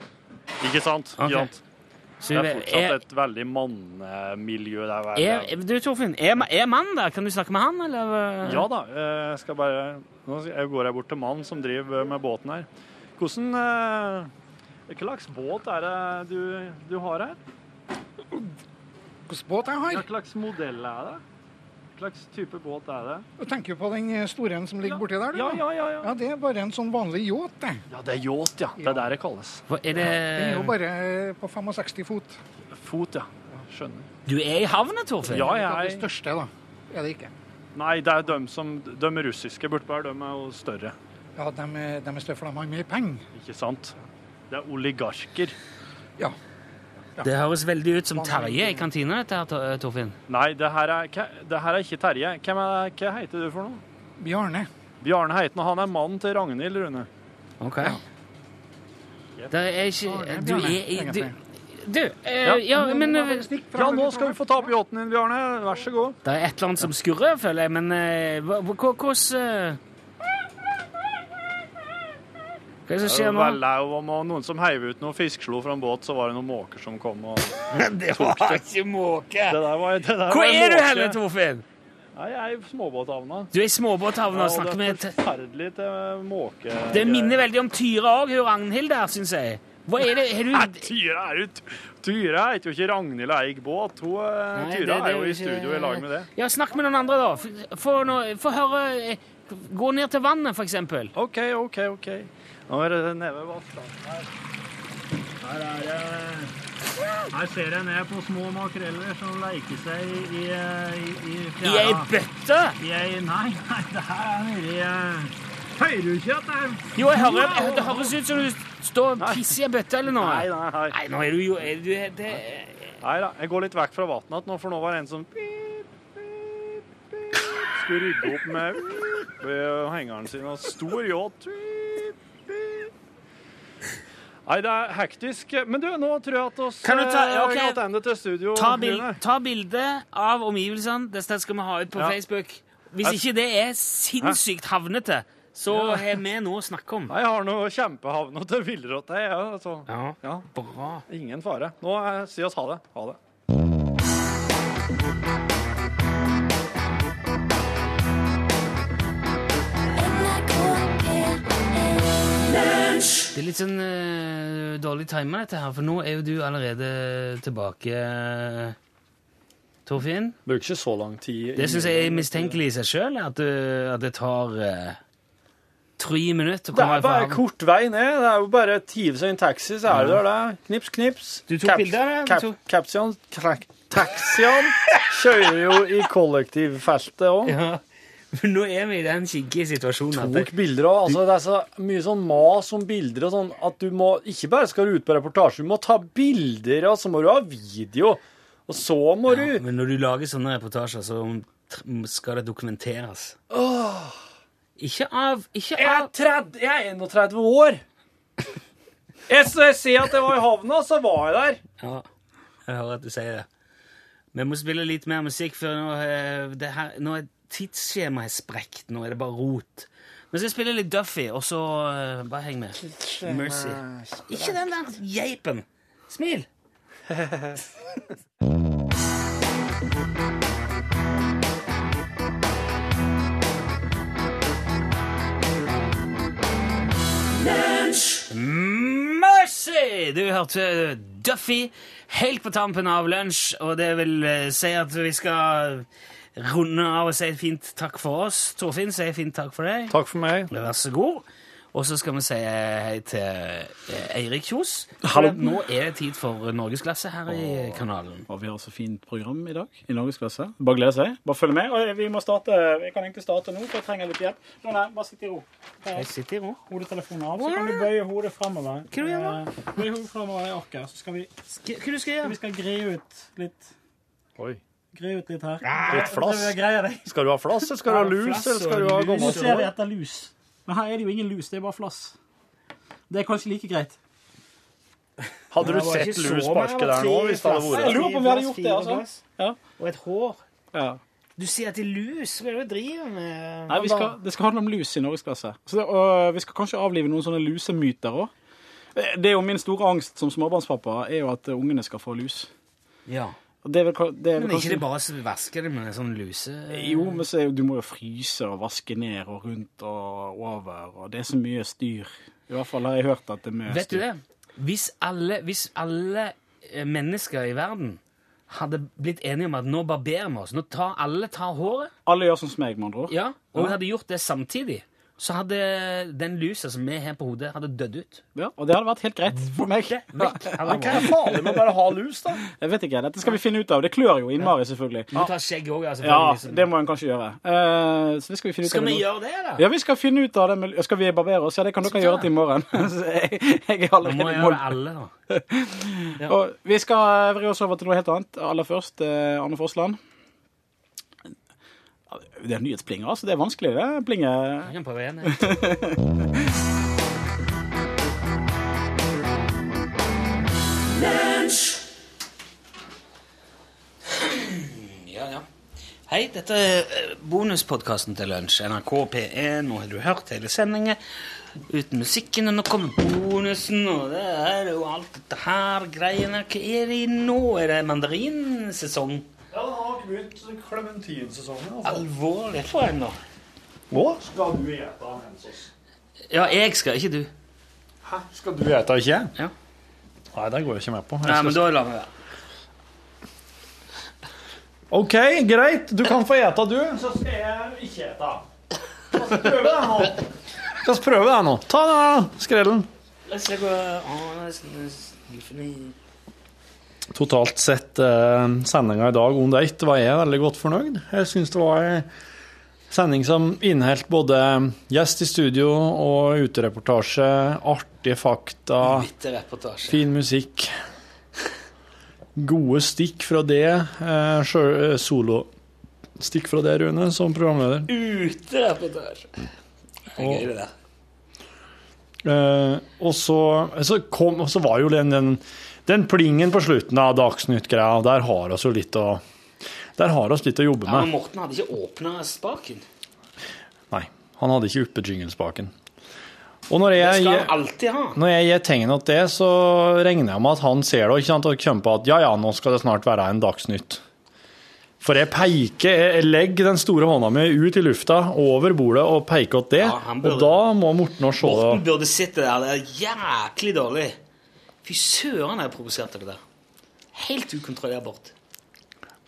Speaker 1: Ikke sant?
Speaker 2: Ok. eh,
Speaker 1: Ikke sant?
Speaker 2: Så
Speaker 1: Det
Speaker 2: hun
Speaker 1: er fortsatt
Speaker 2: er,
Speaker 1: et veldig mannemiljø der. hver
Speaker 2: er,
Speaker 1: dag.
Speaker 2: du, Torfinn, er, er mannen der? Kan du snakke med han, eller?
Speaker 1: Ja da, eh, jeg skal bare Nå skal- jeg går jeg bort til mannen som driver med båten her. Hvordan eh, Hva slags båt er det du, du har her?
Speaker 6: Hvilken båt jeg
Speaker 1: Ja, Hva
Speaker 6: har?
Speaker 1: slags modell er det? Hva slags type båt er det?
Speaker 6: Du tenker på den store en som ligger borti der? du,
Speaker 1: Ja,
Speaker 6: da?
Speaker 1: ja, ja. Ja,
Speaker 6: Ja, det er bare en sånn vanlig yacht, det.
Speaker 1: ja det er yacht, ja. Det er der det kalles.
Speaker 2: Hva, er det
Speaker 6: Den er jo bare eh, på 65 fot.
Speaker 1: Fot, ja. Skjønner.
Speaker 2: Du er i havna, Torfinn?
Speaker 1: Ja,
Speaker 6: Det er det
Speaker 1: jeg
Speaker 6: største, da. Er det ikke?
Speaker 1: Nei, det er de som De russiske bortpå her, de er jo større.
Speaker 6: Ja, de, er- de er støvla med mye penger.
Speaker 1: Ikke sant? Det er oligarker.
Speaker 2: Det høres veldig ut som Terje i kantina, dette her, Tor- Torfinn.
Speaker 1: Nei, det her er, hva- det her er ikke Terje. Hvem er, hva heter du for noe?
Speaker 6: Bjarne.
Speaker 1: Bjarne Heiten, og han er mannen til Ragnhild, Rune.
Speaker 2: Ok. Det er ikke Du er i Du, du eh,
Speaker 1: Ja.
Speaker 2: ja, men eh,
Speaker 1: Ja, nå skal du få ta opp yachten din, Bjarne. Vær så god.
Speaker 2: Det er et eller annet som skurrer, føler jeg, men eh, hva- hva- hva- hvordan eh, Hva Hva er det som
Speaker 1: Det
Speaker 2: skjer
Speaker 1: var
Speaker 2: nå?
Speaker 1: lau om og noen som heiv ut noe fiskeslo fra en båt, så var det noen måker som kom og
Speaker 2: Det var ikke måke!
Speaker 1: Det der var, det der
Speaker 2: Hvor
Speaker 1: var en
Speaker 2: er du
Speaker 1: måke.
Speaker 2: hen, Torfinn?
Speaker 1: Nei, jeg er i småbåthavna.
Speaker 2: Du er i småbåthavna og
Speaker 1: Ja,
Speaker 2: snakker med
Speaker 1: Det
Speaker 2: et
Speaker 1: er forferdelig til måke...
Speaker 2: Det minner veldig om Tyra òg, hun Ragnhild der, syns jeg. Hva er det? Er
Speaker 1: Nei,
Speaker 2: du
Speaker 1: Tyra er jo Tyra heter jo ikke Ragnhild Eik Båt. Hun, eh,
Speaker 2: Nei,
Speaker 1: Tyra
Speaker 2: det- det
Speaker 1: er jo i
Speaker 2: ikke-
Speaker 1: studio i lag med det.
Speaker 2: Ja, snakk med noen andre, da. F- Få nå- få høre eh, Gå ned til vannet, for eksempel.
Speaker 1: OK, OK, OK. Nå er det nede ved vannkanten her. Her er det Her ser jeg ned på små makreller som leker seg i, i, i
Speaker 2: I ei bøtte!
Speaker 1: I ei- Nei, nei, det her er nedi eh, Hører du ikke at det er
Speaker 2: Jo, jeg hører, jeg- det høres ut som du står og pisser i ei bøtte eller noe.
Speaker 1: Nei, nei, nei.
Speaker 2: Nei, nå er du jo er du, det,
Speaker 1: Nei da, jeg går litt vekk fra vannet igjen nå, for nå var det en som pip, pip, pip, skulle rydde opp med pip, ved hengeren sin og stor yacht. Pip, pip. Nei, det er hektisk. Men du, nå tror jeg at oss
Speaker 2: Kan du ta-
Speaker 1: eh,
Speaker 2: ja, ok.
Speaker 1: går tilbake til studio.
Speaker 2: ta, bil,
Speaker 1: Rune.
Speaker 2: ta bilde av omgivelsene. Dette skal vi ha ut på
Speaker 1: Ja.
Speaker 2: Facebook. Hvis ikke det er sinnssykt havnete, så har vi noe å snakke om.
Speaker 1: Nei, jeg har noe kjempehavn og til villrott. jeg, Ja, altså.
Speaker 2: Ja,
Speaker 1: ja,
Speaker 2: bra.
Speaker 1: ingen fare. Nå eh, si oss ha det. Ha det.
Speaker 2: Det er litt sånn eh, dårlig timer dette her, for nå er jo du allerede tilbake, Torfinn.
Speaker 1: Bruker ikke så lang tid.
Speaker 2: Det syns jeg er mistenkelig i seg sjøl, at, du- at det tar eh, tre minutter å
Speaker 1: Det
Speaker 2: komme
Speaker 1: er
Speaker 2: deg fra
Speaker 1: bare
Speaker 2: havn.
Speaker 1: kort vei ned. Det er jo bare å hive seg i en taxi, så er du der. der. Knips, knips.
Speaker 2: Du tok bilder, eller? Du
Speaker 1: cap,
Speaker 2: tok-
Speaker 1: Capsion krak- Taxiene kjører jo i kollektivfeltet òg.
Speaker 2: Ja. Men nå er vi i den kinkige situasjonen at det,
Speaker 1: Tok bilder òg. Altså, det er så mye sånn mas om bilder og sånn at du må Ikke bare skal du ut på reportasje, du må ta bilder, og så må du ha video. Og så må
Speaker 2: Ja,
Speaker 1: du
Speaker 2: Men når du lager sånne reportasjer, så tr- skal det dokumenteres. Ikke av Ikke
Speaker 1: Jeg er,
Speaker 2: av
Speaker 1: 30, jeg er 31 år. Jeg s- ser at jeg var i havna, så var jeg der.
Speaker 2: Ja, jeg hører at du sier det. Vi må spille litt mer musikk, for nå, eh, det her, nå er tidsskjemaet er sprekt. Nå er det bare rot. Vi skal spille litt Duffy, og så eh, bare heng med. Mercy. Ikke den der geipen. Smil. Mercy! Du hørte Duffy helt på tampen av lunsj, og det vil eh, si at vi skal runde av og si et fint takk for oss. Torfinn sier fint takk for deg.
Speaker 1: Takk for meg.
Speaker 2: Vær så god. Og så skal vi si hei til eh, Eirik Kjos. For at Nå er det tid for norgesklasse her i kanalen.
Speaker 6: Og vi har så fint program i dag i norgesklasse. Bare glede seg. Bare følg med. Og vi må starte, jeg kan egentlig starte nå, for jeg trenger litt hjelp. Nå, nei, bare sitt i ro.
Speaker 2: Jeg sitter i ro. Eh,
Speaker 6: Hodetelefonen av, så kan du bøye hodet framover.
Speaker 2: Hva du gjør
Speaker 6: Bøye hodet framover i orket, så skal vi,
Speaker 2: Hva hva du skal
Speaker 6: vi
Speaker 2: gjøre?
Speaker 6: skal gre ut litt.
Speaker 1: Oi.
Speaker 6: Gre ut litt her.
Speaker 1: Litt flass.
Speaker 6: Jeg greier det.
Speaker 1: Skal du ha flass, eller skal du ha lus,
Speaker 2: flass
Speaker 1: eller skal
Speaker 2: og
Speaker 1: du ha
Speaker 2: lus.
Speaker 6: Nå ser vi
Speaker 1: gommatrå?
Speaker 6: etter lus. Men her er det jo ingen lus, det er bare flass. Det er kanskje like greit.
Speaker 1: Hadde du
Speaker 2: Det var
Speaker 1: sett
Speaker 2: ikke så
Speaker 1: lus
Speaker 2: mange,
Speaker 1: barske
Speaker 2: det var
Speaker 1: der nå,
Speaker 2: tre
Speaker 1: hvis det hadde
Speaker 2: flasser.
Speaker 1: vært
Speaker 6: Jeg lurer på om vi hadde gjort det, altså.
Speaker 2: Og et hår.
Speaker 6: Ja.
Speaker 2: Du sier at det er lus. Hva er det du driver med?
Speaker 6: Nei, vi skal, det skal handle om lus i norgesklasse. Så det, og vi skal kanskje avlive noen sånne lusemyter òg. Det er jo min store angst som småbarnspappa, er jo at ungene skal få lus.
Speaker 2: Ja.
Speaker 6: Og Det er vel, ka- det
Speaker 2: Men er
Speaker 6: er vel
Speaker 2: ikke
Speaker 6: kanskje...
Speaker 2: det bare å vaske det med en sånn luse...
Speaker 6: Jo, men så er, jo- du må jo fryse og vaske ned og rundt og over, og det er så mye styr. I hvert fall har jeg hørt at det er mye
Speaker 2: Vet du
Speaker 6: styr.
Speaker 2: det? Hvis alle, hvis alle eh, mennesker i verden hadde blitt enige om at nå barberer vi oss, nå tar alle tar håret,
Speaker 6: Alle gjør sånn som meg, med andre ord.
Speaker 2: ja, og hadde gjort det samtidig, så hadde den lusa som vi har på hodet, hadde dødd ut.
Speaker 6: Ja, og det hadde vært helt greit for meg.
Speaker 2: Vekk. Hadde
Speaker 1: Hva er farlig med å bare ha lus, da?
Speaker 6: Jeg vet ikke, Dette skal vi finne ut av. Det klør jo innmari, selvfølgelig.
Speaker 2: Du tar skjegg òg, altså.
Speaker 6: Ja,
Speaker 2: selvfølgelig,
Speaker 6: det må en kanskje gjøre. Eh, så det skal vi finne ut
Speaker 2: Skal
Speaker 6: av.
Speaker 2: vi
Speaker 6: nå.
Speaker 2: gjøre det, da?
Speaker 6: Ja, vi skal finne ut av det. Med, skal vi barbere oss? Ja, det kan dere
Speaker 2: Skal vi
Speaker 6: gjøre
Speaker 2: det?
Speaker 6: til i morgen. Så jeg, jeg er
Speaker 2: Da må
Speaker 6: allerede i
Speaker 2: jeg
Speaker 6: mål.
Speaker 2: gjøre alle, da.
Speaker 6: Og vi skal vri oss over til noe helt annet. Aller først, eh, Arne Fossland. Det er nyhetsplinger, altså. Det er vanskelig, det. Plinger.
Speaker 2: Jeg kan prøve igjen. jeg. Ja, ja. Hei, eh, dette er bonuspodkasten til Lunsj, NRK P1. Nå har du hørt hele sendingen. Uten musikken, og nå kommer bonusen, og det er jo alt dette her greiene. Hva er det i nå? Er det mandarinsesong?
Speaker 10: Ja, den har ikke begynt klementinsesongen.
Speaker 2: Alvorlig for en, da.
Speaker 10: Nå skal du gjete av mens oss.
Speaker 2: Ja, jeg skal, ikke du.
Speaker 10: Hæ? Skal
Speaker 1: Du vet da ikke?
Speaker 2: Ja.
Speaker 1: Nei, det går jeg ikke med på. Jeg
Speaker 2: Nei,
Speaker 1: skal-
Speaker 2: men da lar vi være.
Speaker 1: OK, greit. Du kan få ete, du.
Speaker 10: Så skal jeg ikke ete. Så skal jeg prøve det nå.
Speaker 1: La oss prøve det her nå. Ta den her, skrellen.
Speaker 2: La oss se hva Å, nesten skuffende.
Speaker 1: Totalt sett eh, sendinga i dag under ett var jeg veldig godt fornøyd. Jeg syns det var ei sending som inneholdt både gjest i studio og utereportasje, artige fakta,
Speaker 2: Bitter reportasje.
Speaker 1: fin musikk. Gode stikk fra det. Eh, sjø- eh, Solostikk fra det, Rune, som programleder.
Speaker 2: Ute reportasje. Det er Gøy, det der.
Speaker 1: Eh, og så, så kom og Så var jo den, den, den plingen på slutten av Dagsnytt-greia, der har oss jo litt å Der har oss litt å jobbe
Speaker 2: Ja, men
Speaker 1: med.
Speaker 2: Morten hadde ikke åpna spaken.
Speaker 1: Nei, han hadde ikke oppe jinglespaken. Og når
Speaker 2: Det
Speaker 1: jeg,
Speaker 2: skal han alltid ha.
Speaker 1: når jeg gir tegn til det, så regner jeg med at han ser det og ikke sant, og kommer på at ja, ja, nå skal det snart være en Dagsnytt. For jeg peker, jeg- jeg legger den store hånda mi ut i lufta, over bordet, og peker åt det.
Speaker 2: han burde-
Speaker 1: og da må Morten òg se det.
Speaker 2: Morten burde sett det der. Det er jæklig dårlig. Fy søren, jeg provoserte det der. Helt ukontrollerbart.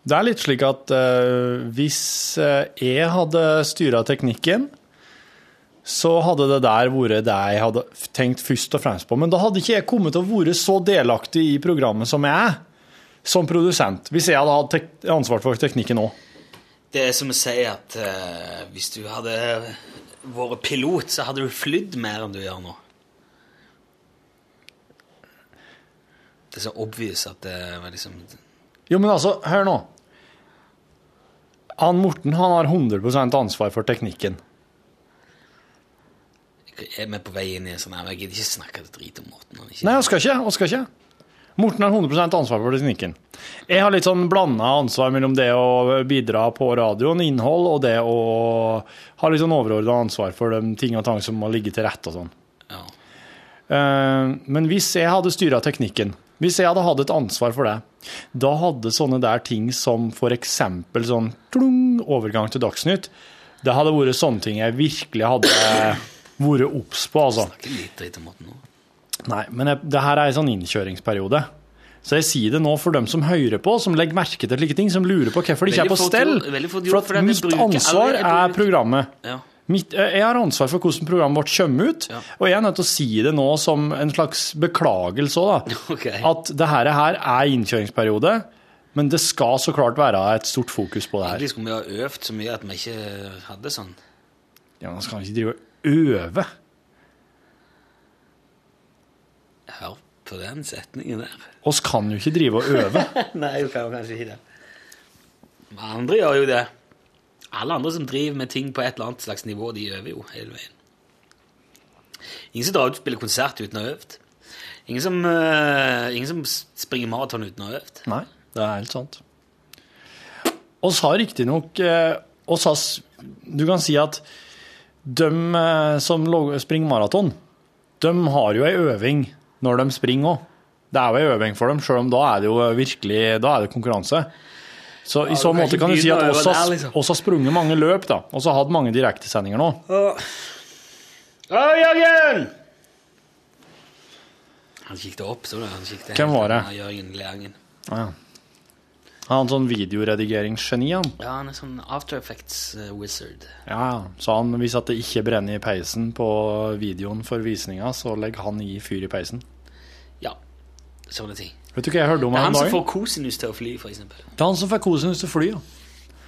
Speaker 1: Det er litt slik at eh, hvis eh, jeg hadde styra teknikken, så hadde det der vært det jeg hadde f- tenkt først og fremst på. Men da hadde ikke jeg kommet til å være så delaktig i programmet som jeg er, som produsent. Hvis jeg hadde hatt tek- ansvar for teknikken òg.
Speaker 2: Det er som å si at eh, hvis du hadde vært pilot, så hadde du flydd mer enn du gjør nå. Det er så obvious at det var liksom
Speaker 1: Jo, men altså, hør nå. Han Morten han har 100 ansvar for teknikken.
Speaker 2: Er vi på vei inn i en sånn her Jeg gidder ikke snakke drit om Morten. Han er ikke
Speaker 1: Nei, han skal ikke. Han skal ikke. Morten har 100 ansvar for teknikken. Jeg har litt sånn blanda ansvar mellom det å bidra på radioen, innhold, og det å ha litt sånn overordna ansvar for de ting og tang som må ligge til rette og sånn. Eh, Men hvis jeg hadde styra teknikken, hvis jeg hadde hatt et ansvar for det, da hadde sånne der ting som f.eks. sånn klung, overgang til Dagsnytt, det hadde vært sånne ting jeg virkelig hadde vært obs på, altså.
Speaker 2: Ikke litt drit om Morten nå.
Speaker 1: Nei, men jeg, det her er en sånn innkjøringsperiode. Så jeg sier det nå for dem som hører på, som legger merke til slike ting, som lurer på hvorfor det ikke er
Speaker 2: Veldig
Speaker 1: på
Speaker 2: fort
Speaker 1: stell.
Speaker 2: gjort, veldig fort gjort,
Speaker 1: For
Speaker 2: for det
Speaker 1: at
Speaker 2: er vi
Speaker 1: mitt
Speaker 2: bruker alle-
Speaker 1: ansvar
Speaker 2: jeg bruker-
Speaker 1: er programmet.
Speaker 2: Ja.
Speaker 1: Mitt, eh, jeg har ansvar for hvordan programmet vårt kommer ut, og jeg er nødt til å si det nå som en slags beklagelse òg, da. At det her, her er innkjøringsperiode, men det skal så klart være et stort fokus på det her.
Speaker 2: Egentlig skulle vi ha øvd så mye at vi ikke hadde sånn.
Speaker 1: Ja, Man skal ikke drive og øve.
Speaker 2: Hør på den setningen der.
Speaker 1: Oss kan jo ikke drive og øve.
Speaker 2: Nei, du kan jo kanskje ikke det. Men Andre gjør jo det. Alle andre som driver med ting på et eller annet slags nivå, de øver jo hele veien. Ingen som drar ut og spiller konsert uten å ha øvd. Ingen som, eh, ingen som s- springer maraton uten å ha øvd.
Speaker 1: Nei, det er helt sant. Oss har riktignok eh, oss har, s- Du kan si at de eh, som lå- springer maraton, de har jo ei øving når de springer òg. Det er jo ei øving for dem, sjøl om da er det jo virkelig da er det konkurranse. Så
Speaker 2: Ja,
Speaker 1: I så
Speaker 2: du kan
Speaker 1: måte
Speaker 2: ikke
Speaker 1: kan du si at
Speaker 2: begynne å øve
Speaker 1: oss har,
Speaker 2: der, liksom.
Speaker 1: oss har sprunget mange løp, da. Oss har hatt mange direktesendinger nå.
Speaker 2: Å, Jørgen! Han kikket opp, så du. Han kikket
Speaker 1: Hvem
Speaker 2: helt
Speaker 1: var
Speaker 2: opp.
Speaker 1: det?
Speaker 2: Ja, Jørgen Leangen.
Speaker 1: Ah, ja. Han er en sånn videoredigeringsgeni, han.
Speaker 2: Ja, han er sånn After eh, Effects-wizard.
Speaker 1: Ja, ja. Så han, hvis at det ikke brenner i peisen på videoen for visninga, så legger han i fyr i peisen.
Speaker 2: ja, sånne ting.
Speaker 1: Vet du hva jeg hørte om
Speaker 2: det
Speaker 1: her
Speaker 2: er han
Speaker 1: om
Speaker 2: som
Speaker 1: dagen?
Speaker 2: får kosinus til å fly, for eksempel.
Speaker 1: Det er han som får kosinus til å fly, ja.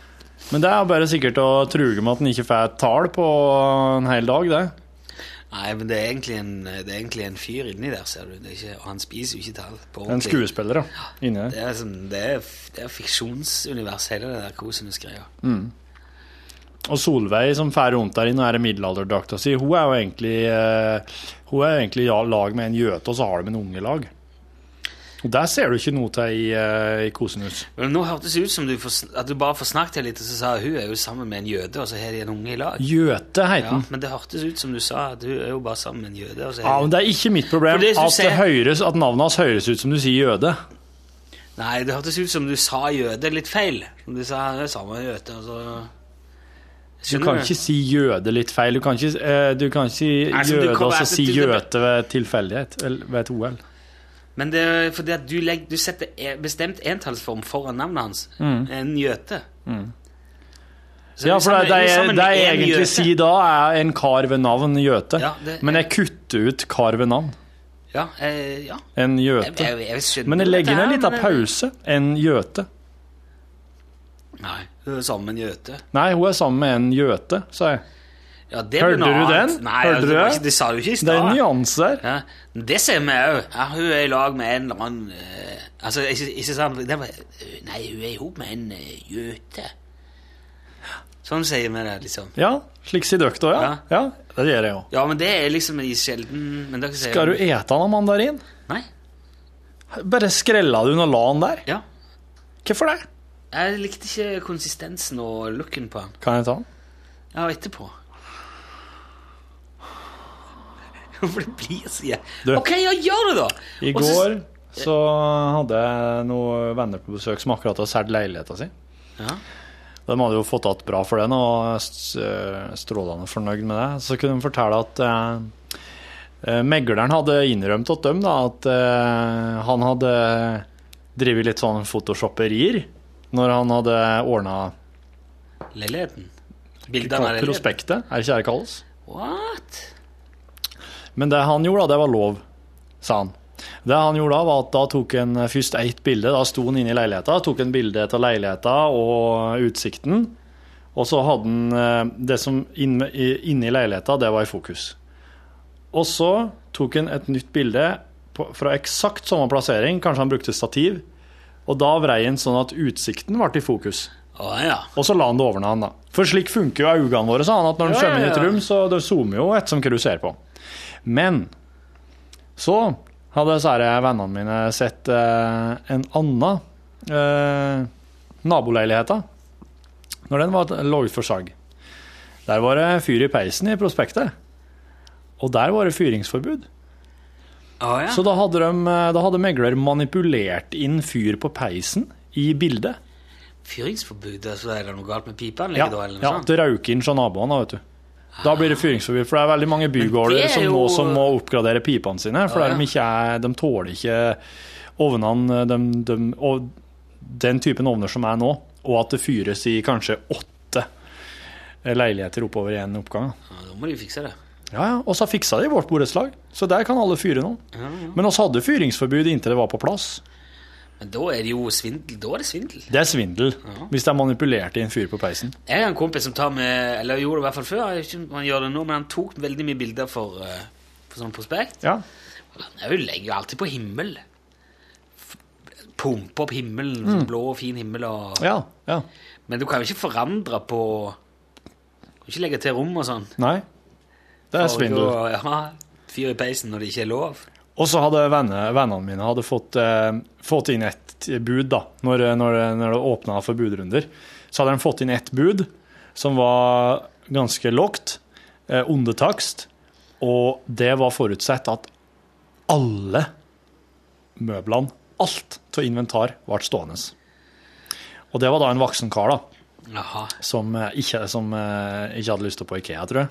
Speaker 1: Men det er bare sikkert å truge med at han ikke får et tall på en hel dag, det.
Speaker 2: Nei, men det er egentlig en, det er egentlig en fyr inni der, ser du. Det er ikke, og han spiser jo ikke tall. på
Speaker 1: En
Speaker 2: ordentlig.
Speaker 1: skuespiller, ja. Inni der.
Speaker 2: Det er, som, det, er, f- det er fiksjonsunivers, hele det der kosinus-greia.
Speaker 1: Mm. Og Solveig som fer rundt der inne og er i middelalderdrakta si, hun er jo egentlig eh, Hun er jo egentlig i lag med en gjøte, og så har de en unge lag. Og Der ser du ikke noe til i, eh, i Kosenhus.
Speaker 2: Men nå hørtes det ut som du får, at du bare forsnakket litt, og så sa jeg, hun er jo sammen med en jøde, og så har de en unge i lag.
Speaker 1: Gjøte heter
Speaker 2: Ja,
Speaker 1: den.
Speaker 2: men det hørtes ut som du sa, at hun er jo bare sammen med en jøde, og så
Speaker 1: Ja,
Speaker 2: har
Speaker 1: men
Speaker 2: de...
Speaker 1: Det er ikke mitt problem
Speaker 2: For det
Speaker 1: at,
Speaker 2: som
Speaker 1: det
Speaker 2: ser-
Speaker 1: høres, at navnet hans høres ut som du sier jøde.
Speaker 2: Nei, det hørtes ut som du sa jøde litt feil. Som du sa, hun er sammen med en jøde, og så...
Speaker 1: Du
Speaker 2: Skjønner
Speaker 1: kan
Speaker 2: du?
Speaker 1: ikke si jøde litt feil. Du kan ikke, eh, du kan ikke si
Speaker 2: Nei, så du
Speaker 1: jøde
Speaker 2: kommer
Speaker 1: og så
Speaker 2: etter
Speaker 1: si
Speaker 2: til det-
Speaker 1: jøte ved tilfeldighet eller ved et OL.
Speaker 2: Men det er fordi at du, legger, du setter e- bestemt entallsform foran navnet hans.
Speaker 1: Mm.
Speaker 2: En jøte. Så
Speaker 1: Ja,
Speaker 2: hun
Speaker 1: for det,
Speaker 2: sammen- hun
Speaker 1: det, jeg- det
Speaker 2: sammen med
Speaker 1: jeg
Speaker 2: en
Speaker 1: egentlig
Speaker 2: jøte.
Speaker 1: sier da, er en kar ved navn jøte.
Speaker 2: Ja, det-
Speaker 1: Men jeg kutter ut kar ved navn.
Speaker 2: Ja, eh, ja.
Speaker 1: En
Speaker 2: Jeg,
Speaker 1: jøte.
Speaker 2: jeg, jeg skjønner
Speaker 1: Men jeg legger
Speaker 2: dette
Speaker 1: ned
Speaker 2: her,
Speaker 1: litt av
Speaker 2: men-
Speaker 1: pause. En jøte.
Speaker 2: Nei, hun er sammen med en jøte.
Speaker 1: Nei, hun er sammen med en jøte, sa jeg.
Speaker 2: Ja, det
Speaker 1: Hørte
Speaker 2: blir noe
Speaker 1: du
Speaker 2: annet.
Speaker 1: den?
Speaker 2: Nei, altså,
Speaker 1: Hørte
Speaker 2: det,
Speaker 1: du
Speaker 2: var
Speaker 1: det?
Speaker 2: ikke, det sa du ikke i
Speaker 1: Det er en
Speaker 2: stad.
Speaker 1: nyanse der.
Speaker 2: Ja, det ser vi òg. Ja, hun er i lag med en eller annen eh, Altså, ikke, ikke sant det var, eh, Nei, hun er i hop med en eh, jøte. Sånn sier vi det, liksom.
Speaker 1: Ja, slik sier dere da, ja. ja. Det gjør jeg òg.
Speaker 2: Ja, men det er liksom i sjelden men dere sier,
Speaker 1: Skal du ete noe mandarin?
Speaker 2: Nei.
Speaker 1: Bare skrella du noe lan der?
Speaker 2: Ja.
Speaker 1: Hvorfor det?
Speaker 2: Jeg likte ikke konsistensen og looken på han.
Speaker 1: Kan jeg ta den?
Speaker 2: Ja, etterpå. For det blir så jæ...
Speaker 1: Du.
Speaker 2: OK, ja, gjør det, da!
Speaker 1: I
Speaker 2: Og så-
Speaker 1: går så hadde jeg noen venner på besøk som akkurat hadde solgt leiligheta si.
Speaker 2: Ja.
Speaker 1: De hadde jo fått igjen bra for den, og s- øh, strålende fornøyd med det. Så kunne de fortelle at eh, eh, megleren hadde innrømt til dem da, at eh, han hadde drevet litt sånn photoshopperier når han hadde ordna
Speaker 2: Leiligheten. Bildene av leiligheten.
Speaker 1: prospektet, er det ikke det det kalles?
Speaker 2: What?
Speaker 1: Men det han gjorde da, det var lov, sa han. Det han gjorde da, var at da tok han først ett bilde. Da sto han inne i leiligheta, tok en bilde av leiligheta og utsikten. Og så hadde han eh, det som inne, inne i leiligheta, det var i fokus. Og så tok han et nytt bilde på, fra eksakt samme plassering, kanskje han brukte stativ. Og da vrei han sånn at utsikten ble i fokus.
Speaker 2: Å ja.
Speaker 1: Og så la han det over han, da. For slik funker jo øynene våre, sa han. At når en
Speaker 2: Ja,
Speaker 1: skjømmer
Speaker 2: ja,
Speaker 1: inn i et
Speaker 2: ja.
Speaker 1: rom, så det zoomer jo etter som hva du ser på. Men så hadde disse her vennene mine sett eh, en annen eh, naboleilighet da, når den var lå ut for salg. Der var det fyr i peisen i prospektet. Og der var det fyringsforbud.
Speaker 2: Å, ja.
Speaker 1: Så da hadde, de, eh, da hadde megler manipulert inn fyr på peisen i bildet.
Speaker 2: Fyringsforbud? Altså, er det noe galt med pipeanlegget
Speaker 1: Ja,
Speaker 2: da? Eller noe
Speaker 1: ja
Speaker 2: sånt?
Speaker 1: det røyker inn fra naboene, vet du. Da blir det fyringsforbud, for det er veldig mange
Speaker 2: det
Speaker 1: bygårder
Speaker 2: er
Speaker 1: som nå
Speaker 2: jo-
Speaker 1: som må oppgradere pipene sine, for
Speaker 2: Ja, ja.
Speaker 1: De, ikke er, de tåler ikke ovnene de, de, og den typen ovner som er nå, og at det fyres i kanskje åtte leiligheter oppover i en oppgang.
Speaker 2: Ja, da må de fikse det.
Speaker 1: Ja, ja, og så fiksa de vårt borettslag, så der kan alle fyre nå.
Speaker 2: Ja, ja.
Speaker 1: Men oss hadde fyringsforbud inntil det var på plass.
Speaker 2: Men da er det jo svindel. Da er det svindel.
Speaker 1: Det er svindel, hvis det er manipulert inn fyr på peisen.
Speaker 2: Jeg har en kompis som tar med Eller gjorde det i hvert fall før, jeg vet ikke om han gjør det nå, men han tok veldig mye bilder for, eh, for sånn prospekt.
Speaker 1: Ja.
Speaker 2: Han er jo- legger jo alltid på himmel. F- Pumper opp himmelen, sånn blå og fin himmel og
Speaker 1: Mm. Ja, ja.
Speaker 2: Men du kan jo ikke forandre på Du kan ikke legge til rom og sånn.
Speaker 1: Nei, det er
Speaker 2: Og
Speaker 1: svindel.
Speaker 2: da- Ja, fyr i peisen når det ikke er lov.
Speaker 1: Og så hadde venne, vennene mine hadde fått, eh, fått inn et bud da, når, når, når det åpna for budrunder. Så hadde de fått inn ett bud som var ganske lågt, eh, onde takst, og det var forutsett at alle møblene, alt av inventar, ble stående. Og det var da en voksen kar da,
Speaker 2: Jaha.
Speaker 1: som, eh, ikke, som eh, ikke hadde lyst til å på Ikea, tror jeg.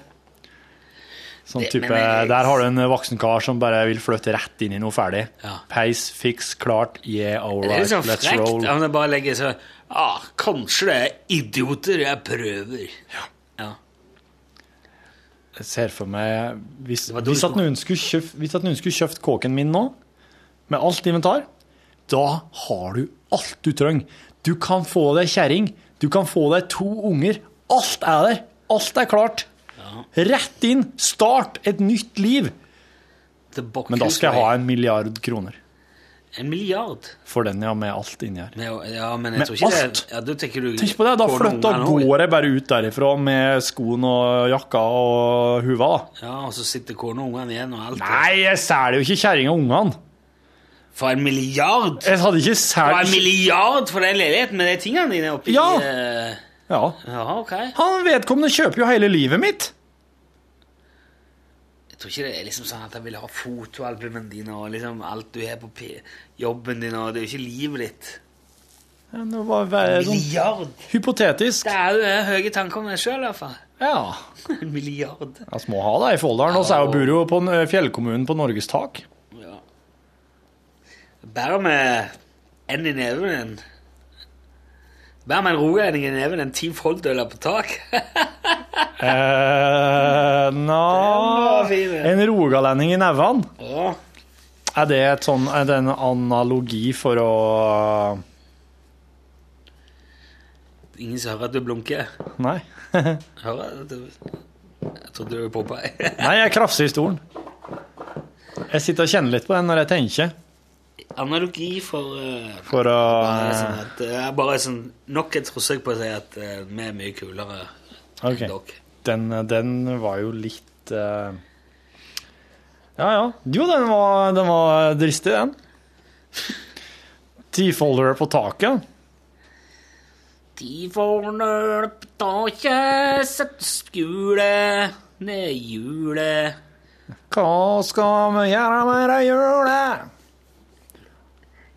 Speaker 1: Sånn
Speaker 2: Det-
Speaker 1: type,
Speaker 2: men eh, jeg-
Speaker 1: Der har du en voksen kar som bare vil flytte rett inn i noe ferdig.
Speaker 2: Ja.
Speaker 1: Peis, fiks, klart, yeah, all
Speaker 2: Det er
Speaker 1: right,
Speaker 2: litt sånn
Speaker 1: let's roll.
Speaker 2: frekt om det bare legger sånn ah, Kanskje det er idioter jeg prøver. Ja.
Speaker 1: Jeg ser for meg Hvis,
Speaker 2: var
Speaker 1: hvis,
Speaker 2: dårlig
Speaker 1: at noen skulle kjøpt, hvis at noen skulle kjøpt kåken min nå, med alt inventar, da har du alt du trenger. Du kan få deg kjerring, du kan få deg to unger. Alt er der. Alt er klart. Rett inn, start et nytt liv. Men da skal jeg ha en milliard kroner
Speaker 2: En milliard.
Speaker 1: for den jeg har med alt inni her.
Speaker 2: Men, ja, men
Speaker 1: Med
Speaker 2: jeg tror ikke
Speaker 1: alt?
Speaker 2: det ja, da tenker du,
Speaker 1: Tenk på det, da
Speaker 2: på
Speaker 1: flytta
Speaker 2: noen her nå.
Speaker 1: går jeg bare ut derifra med skoen og jakka og huva, da.
Speaker 2: Ja, og så sitter kona og ungene igjen og alt.
Speaker 1: Nei, jeg selger jo ikke kjerringa og ungene.
Speaker 2: For en milliard!
Speaker 1: Jeg hadde ikke
Speaker 2: For en
Speaker 1: solgt
Speaker 2: milliard for den leiligheten med de tingene dine oppi
Speaker 1: Ja.
Speaker 2: eh,
Speaker 1: Ja.
Speaker 2: Jaha, ok.
Speaker 1: Han vedkommende kjøper jo hele livet mitt!
Speaker 2: Jeg tror ikke det er liksom sånn at han ville ha fotoalbumene dine og liksom alt du har på p jobben din, og det er jo ikke livet ditt.
Speaker 1: Ja, Det var bare
Speaker 2: Milliard.
Speaker 1: sånn hypotetisk.
Speaker 2: Det er jo eh, høye tanker om deg sjøl, i hvert fall.
Speaker 1: Ja.
Speaker 2: En milliard.
Speaker 1: Vi må ha det i Folldalen. Og så er jo bor jo på en, eh, fjellkommunen på Norges tak.
Speaker 2: Ja. Bare med en i neven en Bare med en rogalending i neven en Team Folldøler på tak.
Speaker 1: Eh, na, en rogalending i neven.
Speaker 2: Ja.
Speaker 1: Er det, et sånn, er det en analogi for å
Speaker 2: Ingen som hører at du blunker.
Speaker 1: Nei.
Speaker 2: Hører at du Jeg trodde du var Popeye.
Speaker 1: Nei, jeg krafser i stolen. Jeg sitter og kjenner litt på den når jeg tenker.
Speaker 2: Analogi for eh,
Speaker 1: For å
Speaker 2: Bare sånn at, eh, bare sånn, nok et forsøk på å si at eh, vi er mye kulere.
Speaker 1: Ok. Den, eh, den var jo litt eh, Ja, ja. Jo, den var, den var dristig, den. Tifoldere på taket.
Speaker 2: De får nølt og ikke sett skule ned i hjulet.
Speaker 1: Hva skal vi gjøre med det hjulet?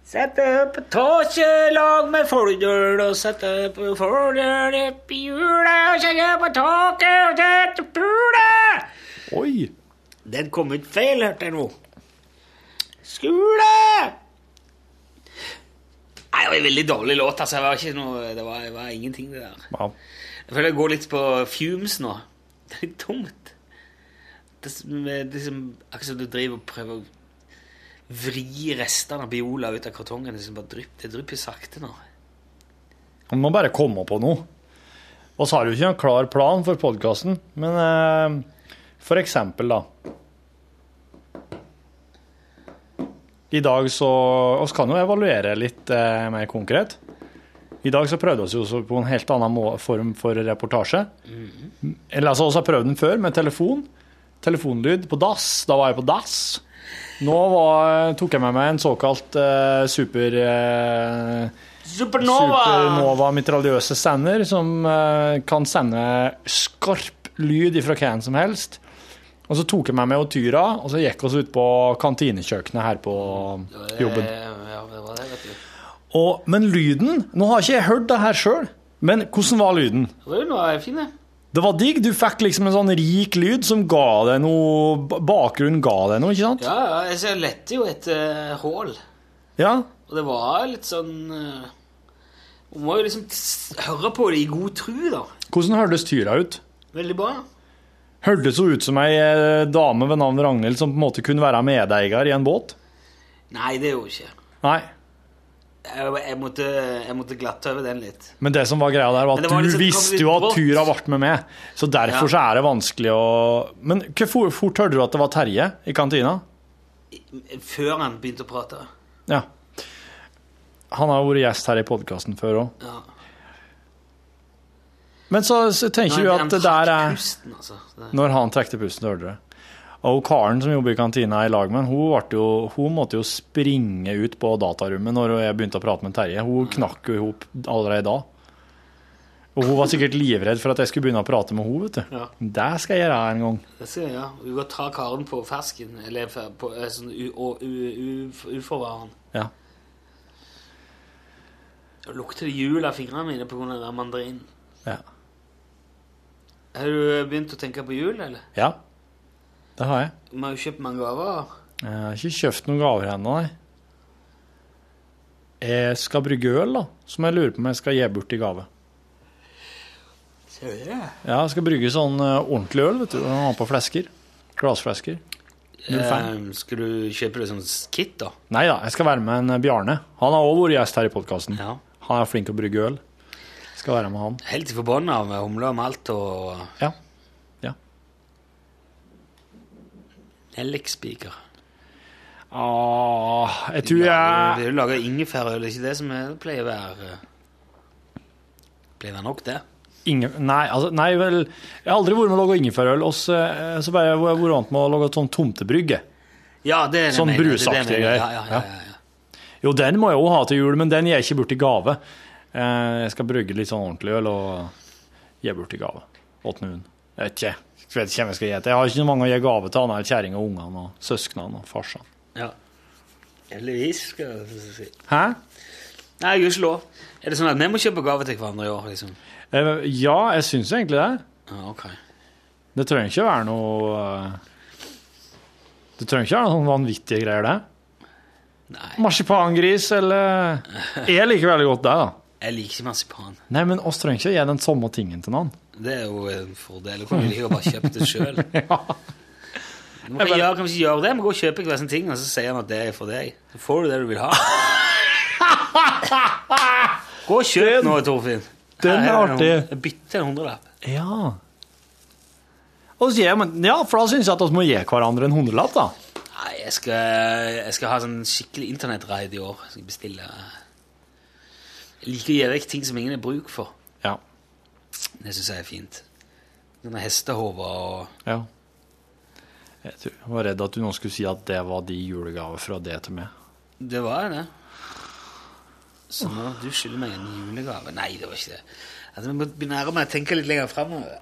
Speaker 2: Sette på taket lag med folkdøl og sette på folkdøl opp i hjulet og kjenne på taket og sette på hjulet.
Speaker 1: Oi!
Speaker 2: Den kom ut feil, hørte jeg nå. Skule! Nei, det var en veldig dårlig låt, altså. Det var, ikke noe, det var, det var ingenting, det der.
Speaker 1: Ja.
Speaker 2: Jeg føler jeg går litt på fumes nå. Det er litt tomt. Det, som- det er som, akkurat som du driver og prøver å vri restene av Biola ut av kartongen. Det, som bare drypp, det drypper sakte nå.
Speaker 1: Man må bare komme på noe. Og så har vi jo ikke noen klar plan for podkasten, men eh, for eksempel, da. I dag så Vi kan jo evaluere litt eh, mer konkret. I dag så prøvde vi oss jo på en helt annen må form for reportasje. Eller altså, Vi har prøvd den før med telefon. Telefonlyd på dass. Da var jeg på dass. Nå var, tok jeg med meg en såkalt eh, super... Eh,
Speaker 2: Supernova!
Speaker 1: mitraljøse sender som eh, kan sende skarp lyd ifra hvem som helst. Og så tok jeg meg med og Tyra, og så gikk vi ut på kantinekjøkkenet her på jobben.
Speaker 2: Ja, det var det, vet du.
Speaker 1: Og, men lyden Nå har ikke jeg hørt det her sjøl, men hvordan var lyden?
Speaker 2: Rune var fin, det.
Speaker 1: Det var digg. Du fikk liksom en sånn rik lyd som ga deg noe ba- Bakgrunnen ga deg noe, ikke sant?
Speaker 2: Ja, ja, jeg ser- lette jo etter hull.
Speaker 1: Ja.
Speaker 2: Og det var litt sånn eh, Hun må jo liksom s- høre på det i god tru, da.
Speaker 1: Hvordan hørtes Tyra ut?
Speaker 2: Veldig bra.
Speaker 1: Hørtes hun ut som ei eh, dame ved navn Ragnhild som på en måte kunne være medeier i en båt?
Speaker 2: Nei, det gjorde hun ikke.
Speaker 1: Nei.
Speaker 2: Jeg, jeg måtte, jeg måtte glatte over den litt.
Speaker 1: Men det som var greia der, var
Speaker 2: Men det
Speaker 1: at
Speaker 2: var
Speaker 1: du
Speaker 2: liksom- det kom
Speaker 1: visste
Speaker 2: litt
Speaker 1: jo at
Speaker 2: brått.
Speaker 1: Tyra ble med meg. Så derfor
Speaker 2: Ja.
Speaker 1: så er det vanskelig å Men hvor fort, fort hørte du at det var Terje i kantina?
Speaker 2: Før han begynte å prate.
Speaker 1: Ja. Han har jo vært gjest her i podkasten før òg.
Speaker 2: Ja.
Speaker 1: Men så, så tenker du
Speaker 2: Når han-
Speaker 1: at det der
Speaker 2: han trakk
Speaker 1: er
Speaker 2: pusten, altså. Det-
Speaker 1: Når han trekte pusten, hørte du det. Og hun Karen som jobber i kantina i lag med han, hun, ble jo, hun måtte jo springe ut på datarommet når jeg begynte å prate med Terje. Hun knakk jo i hop allerede da. Og hun var sikkert livredd for at jeg skulle begynne å prate med henne, vet du.
Speaker 2: Ja.
Speaker 1: Det skal jeg gjøre en gang.
Speaker 2: Det skal jeg gjøre. Hun kan ta karen på fersken. Eller f- på, eh, sånn u- og u- u- uforvarende.
Speaker 1: Ja.
Speaker 2: Det lukter det jul av fingrene mine pga. mandarinen.
Speaker 1: Ja.
Speaker 2: Har du eh, begynt å tenke på jul, eller?
Speaker 1: Ja, det har jeg.
Speaker 2: Vi har jo kjøpt mange gaver.
Speaker 1: Jeg har ikke kjøpt noen gaver ennå, nei. Jeg skal brygge øl, da, som jeg lurer på om jeg skal gi bort i gave.
Speaker 2: Ser du det?
Speaker 1: Ja, jeg skal brygge sånn eh, ordentlig øl, vet du. Den har på flesker. Glassflesker. Null feil.
Speaker 2: Eh, skal du kjøpe det som s- kit, da?
Speaker 1: Nei da, jeg skal være med en eh, Bjarne. Han har òg vært gjest her i podkasten. Han er flink til å brygge øl. Skal være med han.
Speaker 2: Helt forbanna med eh, humle og malt og
Speaker 1: Ja. Ja.
Speaker 2: nellikspiker.
Speaker 1: Åh, jeg tror
Speaker 2: Du
Speaker 1: jeg
Speaker 2: lager, du lager ingefærøl, ikke det som er- pleier å være Pleier å være nok, det.
Speaker 1: Inge... Nei, altså, nei vel. Jeg har aldri vært med å lage ingefærøl. Og så eh, så bare jeg har vært vant med å lage et sånn tomtebrygge.
Speaker 2: Ja, det er det jeg
Speaker 1: Sånn
Speaker 2: mener, det er det jeg
Speaker 1: brusaktige
Speaker 2: mener.
Speaker 1: greier.
Speaker 2: Ja, ja, ja, ja, ja.
Speaker 1: Jo, den må jeg òg ha til jul, men den gir jeg ikke bort i gave. Eh, Jeg skal brygge litt sånn ordentlig øl og gi bort i gave. Åt noen. Jeg vet ikke. Jeg vet ikke hvem jeg skal gi til. Jeg har ikke mange å gi gave til, annet enn kjerringa og ungene og søsknene og farsan.
Speaker 2: Ja. Heldigvis, skal jeg si.
Speaker 1: Hæ?
Speaker 2: Nei, gudskjelov. Er det sånn at vi må kjøpe gave til hverandre i år, liksom?
Speaker 1: Eh, Ja, jeg syns egentlig det.
Speaker 2: Ja, ok.
Speaker 1: Det trenger ikke være noe eh, Det trenger ikke være noen sånn vanvittige greier, det. Marsipangris eller Jeg liker veldig godt det, da.
Speaker 2: Jeg liker ikke marsipan.
Speaker 1: Nei, men oss trenger ikke å gi den samme tingen til noen.
Speaker 2: Det er jo en fordel. Du kan jo like å bare kjøpe det sjøl. Du kan, gjøre, kan ikke gjøre det, men gå og kjøpe hver sin ting, og så sier han at det er for deg. Så får du det du vil ha. Gå og kjøp noe, Torfinn.
Speaker 1: den
Speaker 2: Her
Speaker 1: er
Speaker 2: det
Speaker 1: artig.
Speaker 2: noe. Bytte en hundrelapp.
Speaker 1: Ja. Og så gir man, ja, for da syns jeg at vi må gi hverandre en hundrelapp, da.
Speaker 2: Nei, jeg skal, jeg skal ha sånn skikkelig internettraid i år. Skal jeg bestille Jeg liker å gi vekk ting som ingen har bruk for.
Speaker 1: Ja.
Speaker 2: Det syns jeg er fint. Sånne hestehover og
Speaker 1: Ja. Jeg, tror, jeg var redd at du nå skulle si at det var de julegaver fra det til meg.
Speaker 2: Det var det. Så nå du skylder meg en julegave. Nei, det var ikke det. Altså, Vi må begynne med å tenke litt lenger framover.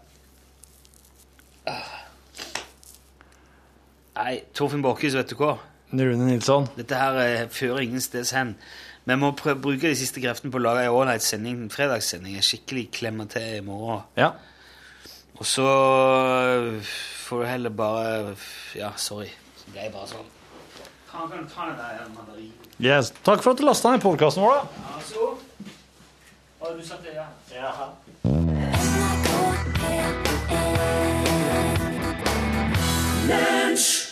Speaker 2: Nei, Torfinn Borchhus, vet du hva?
Speaker 1: Rune Nilsson.
Speaker 2: Dette her eh, fører ingen steds hen. Vi må prøve, bruke de siste kreftene på å lage en ålreit sending, en fredagssending. Jeg skikkelig klemmer til i morgen.
Speaker 1: Ja.
Speaker 2: Og så eh, får du heller bare Ja, sorry. Så ble jeg bare sånn. Kan, kan, kan jeg deg en mandarin?
Speaker 1: Yes. Takk for at du lasta ned podkasten vår, da.
Speaker 2: Ja, så. Har du satt det, ja? Ja.
Speaker 11: Lunsj!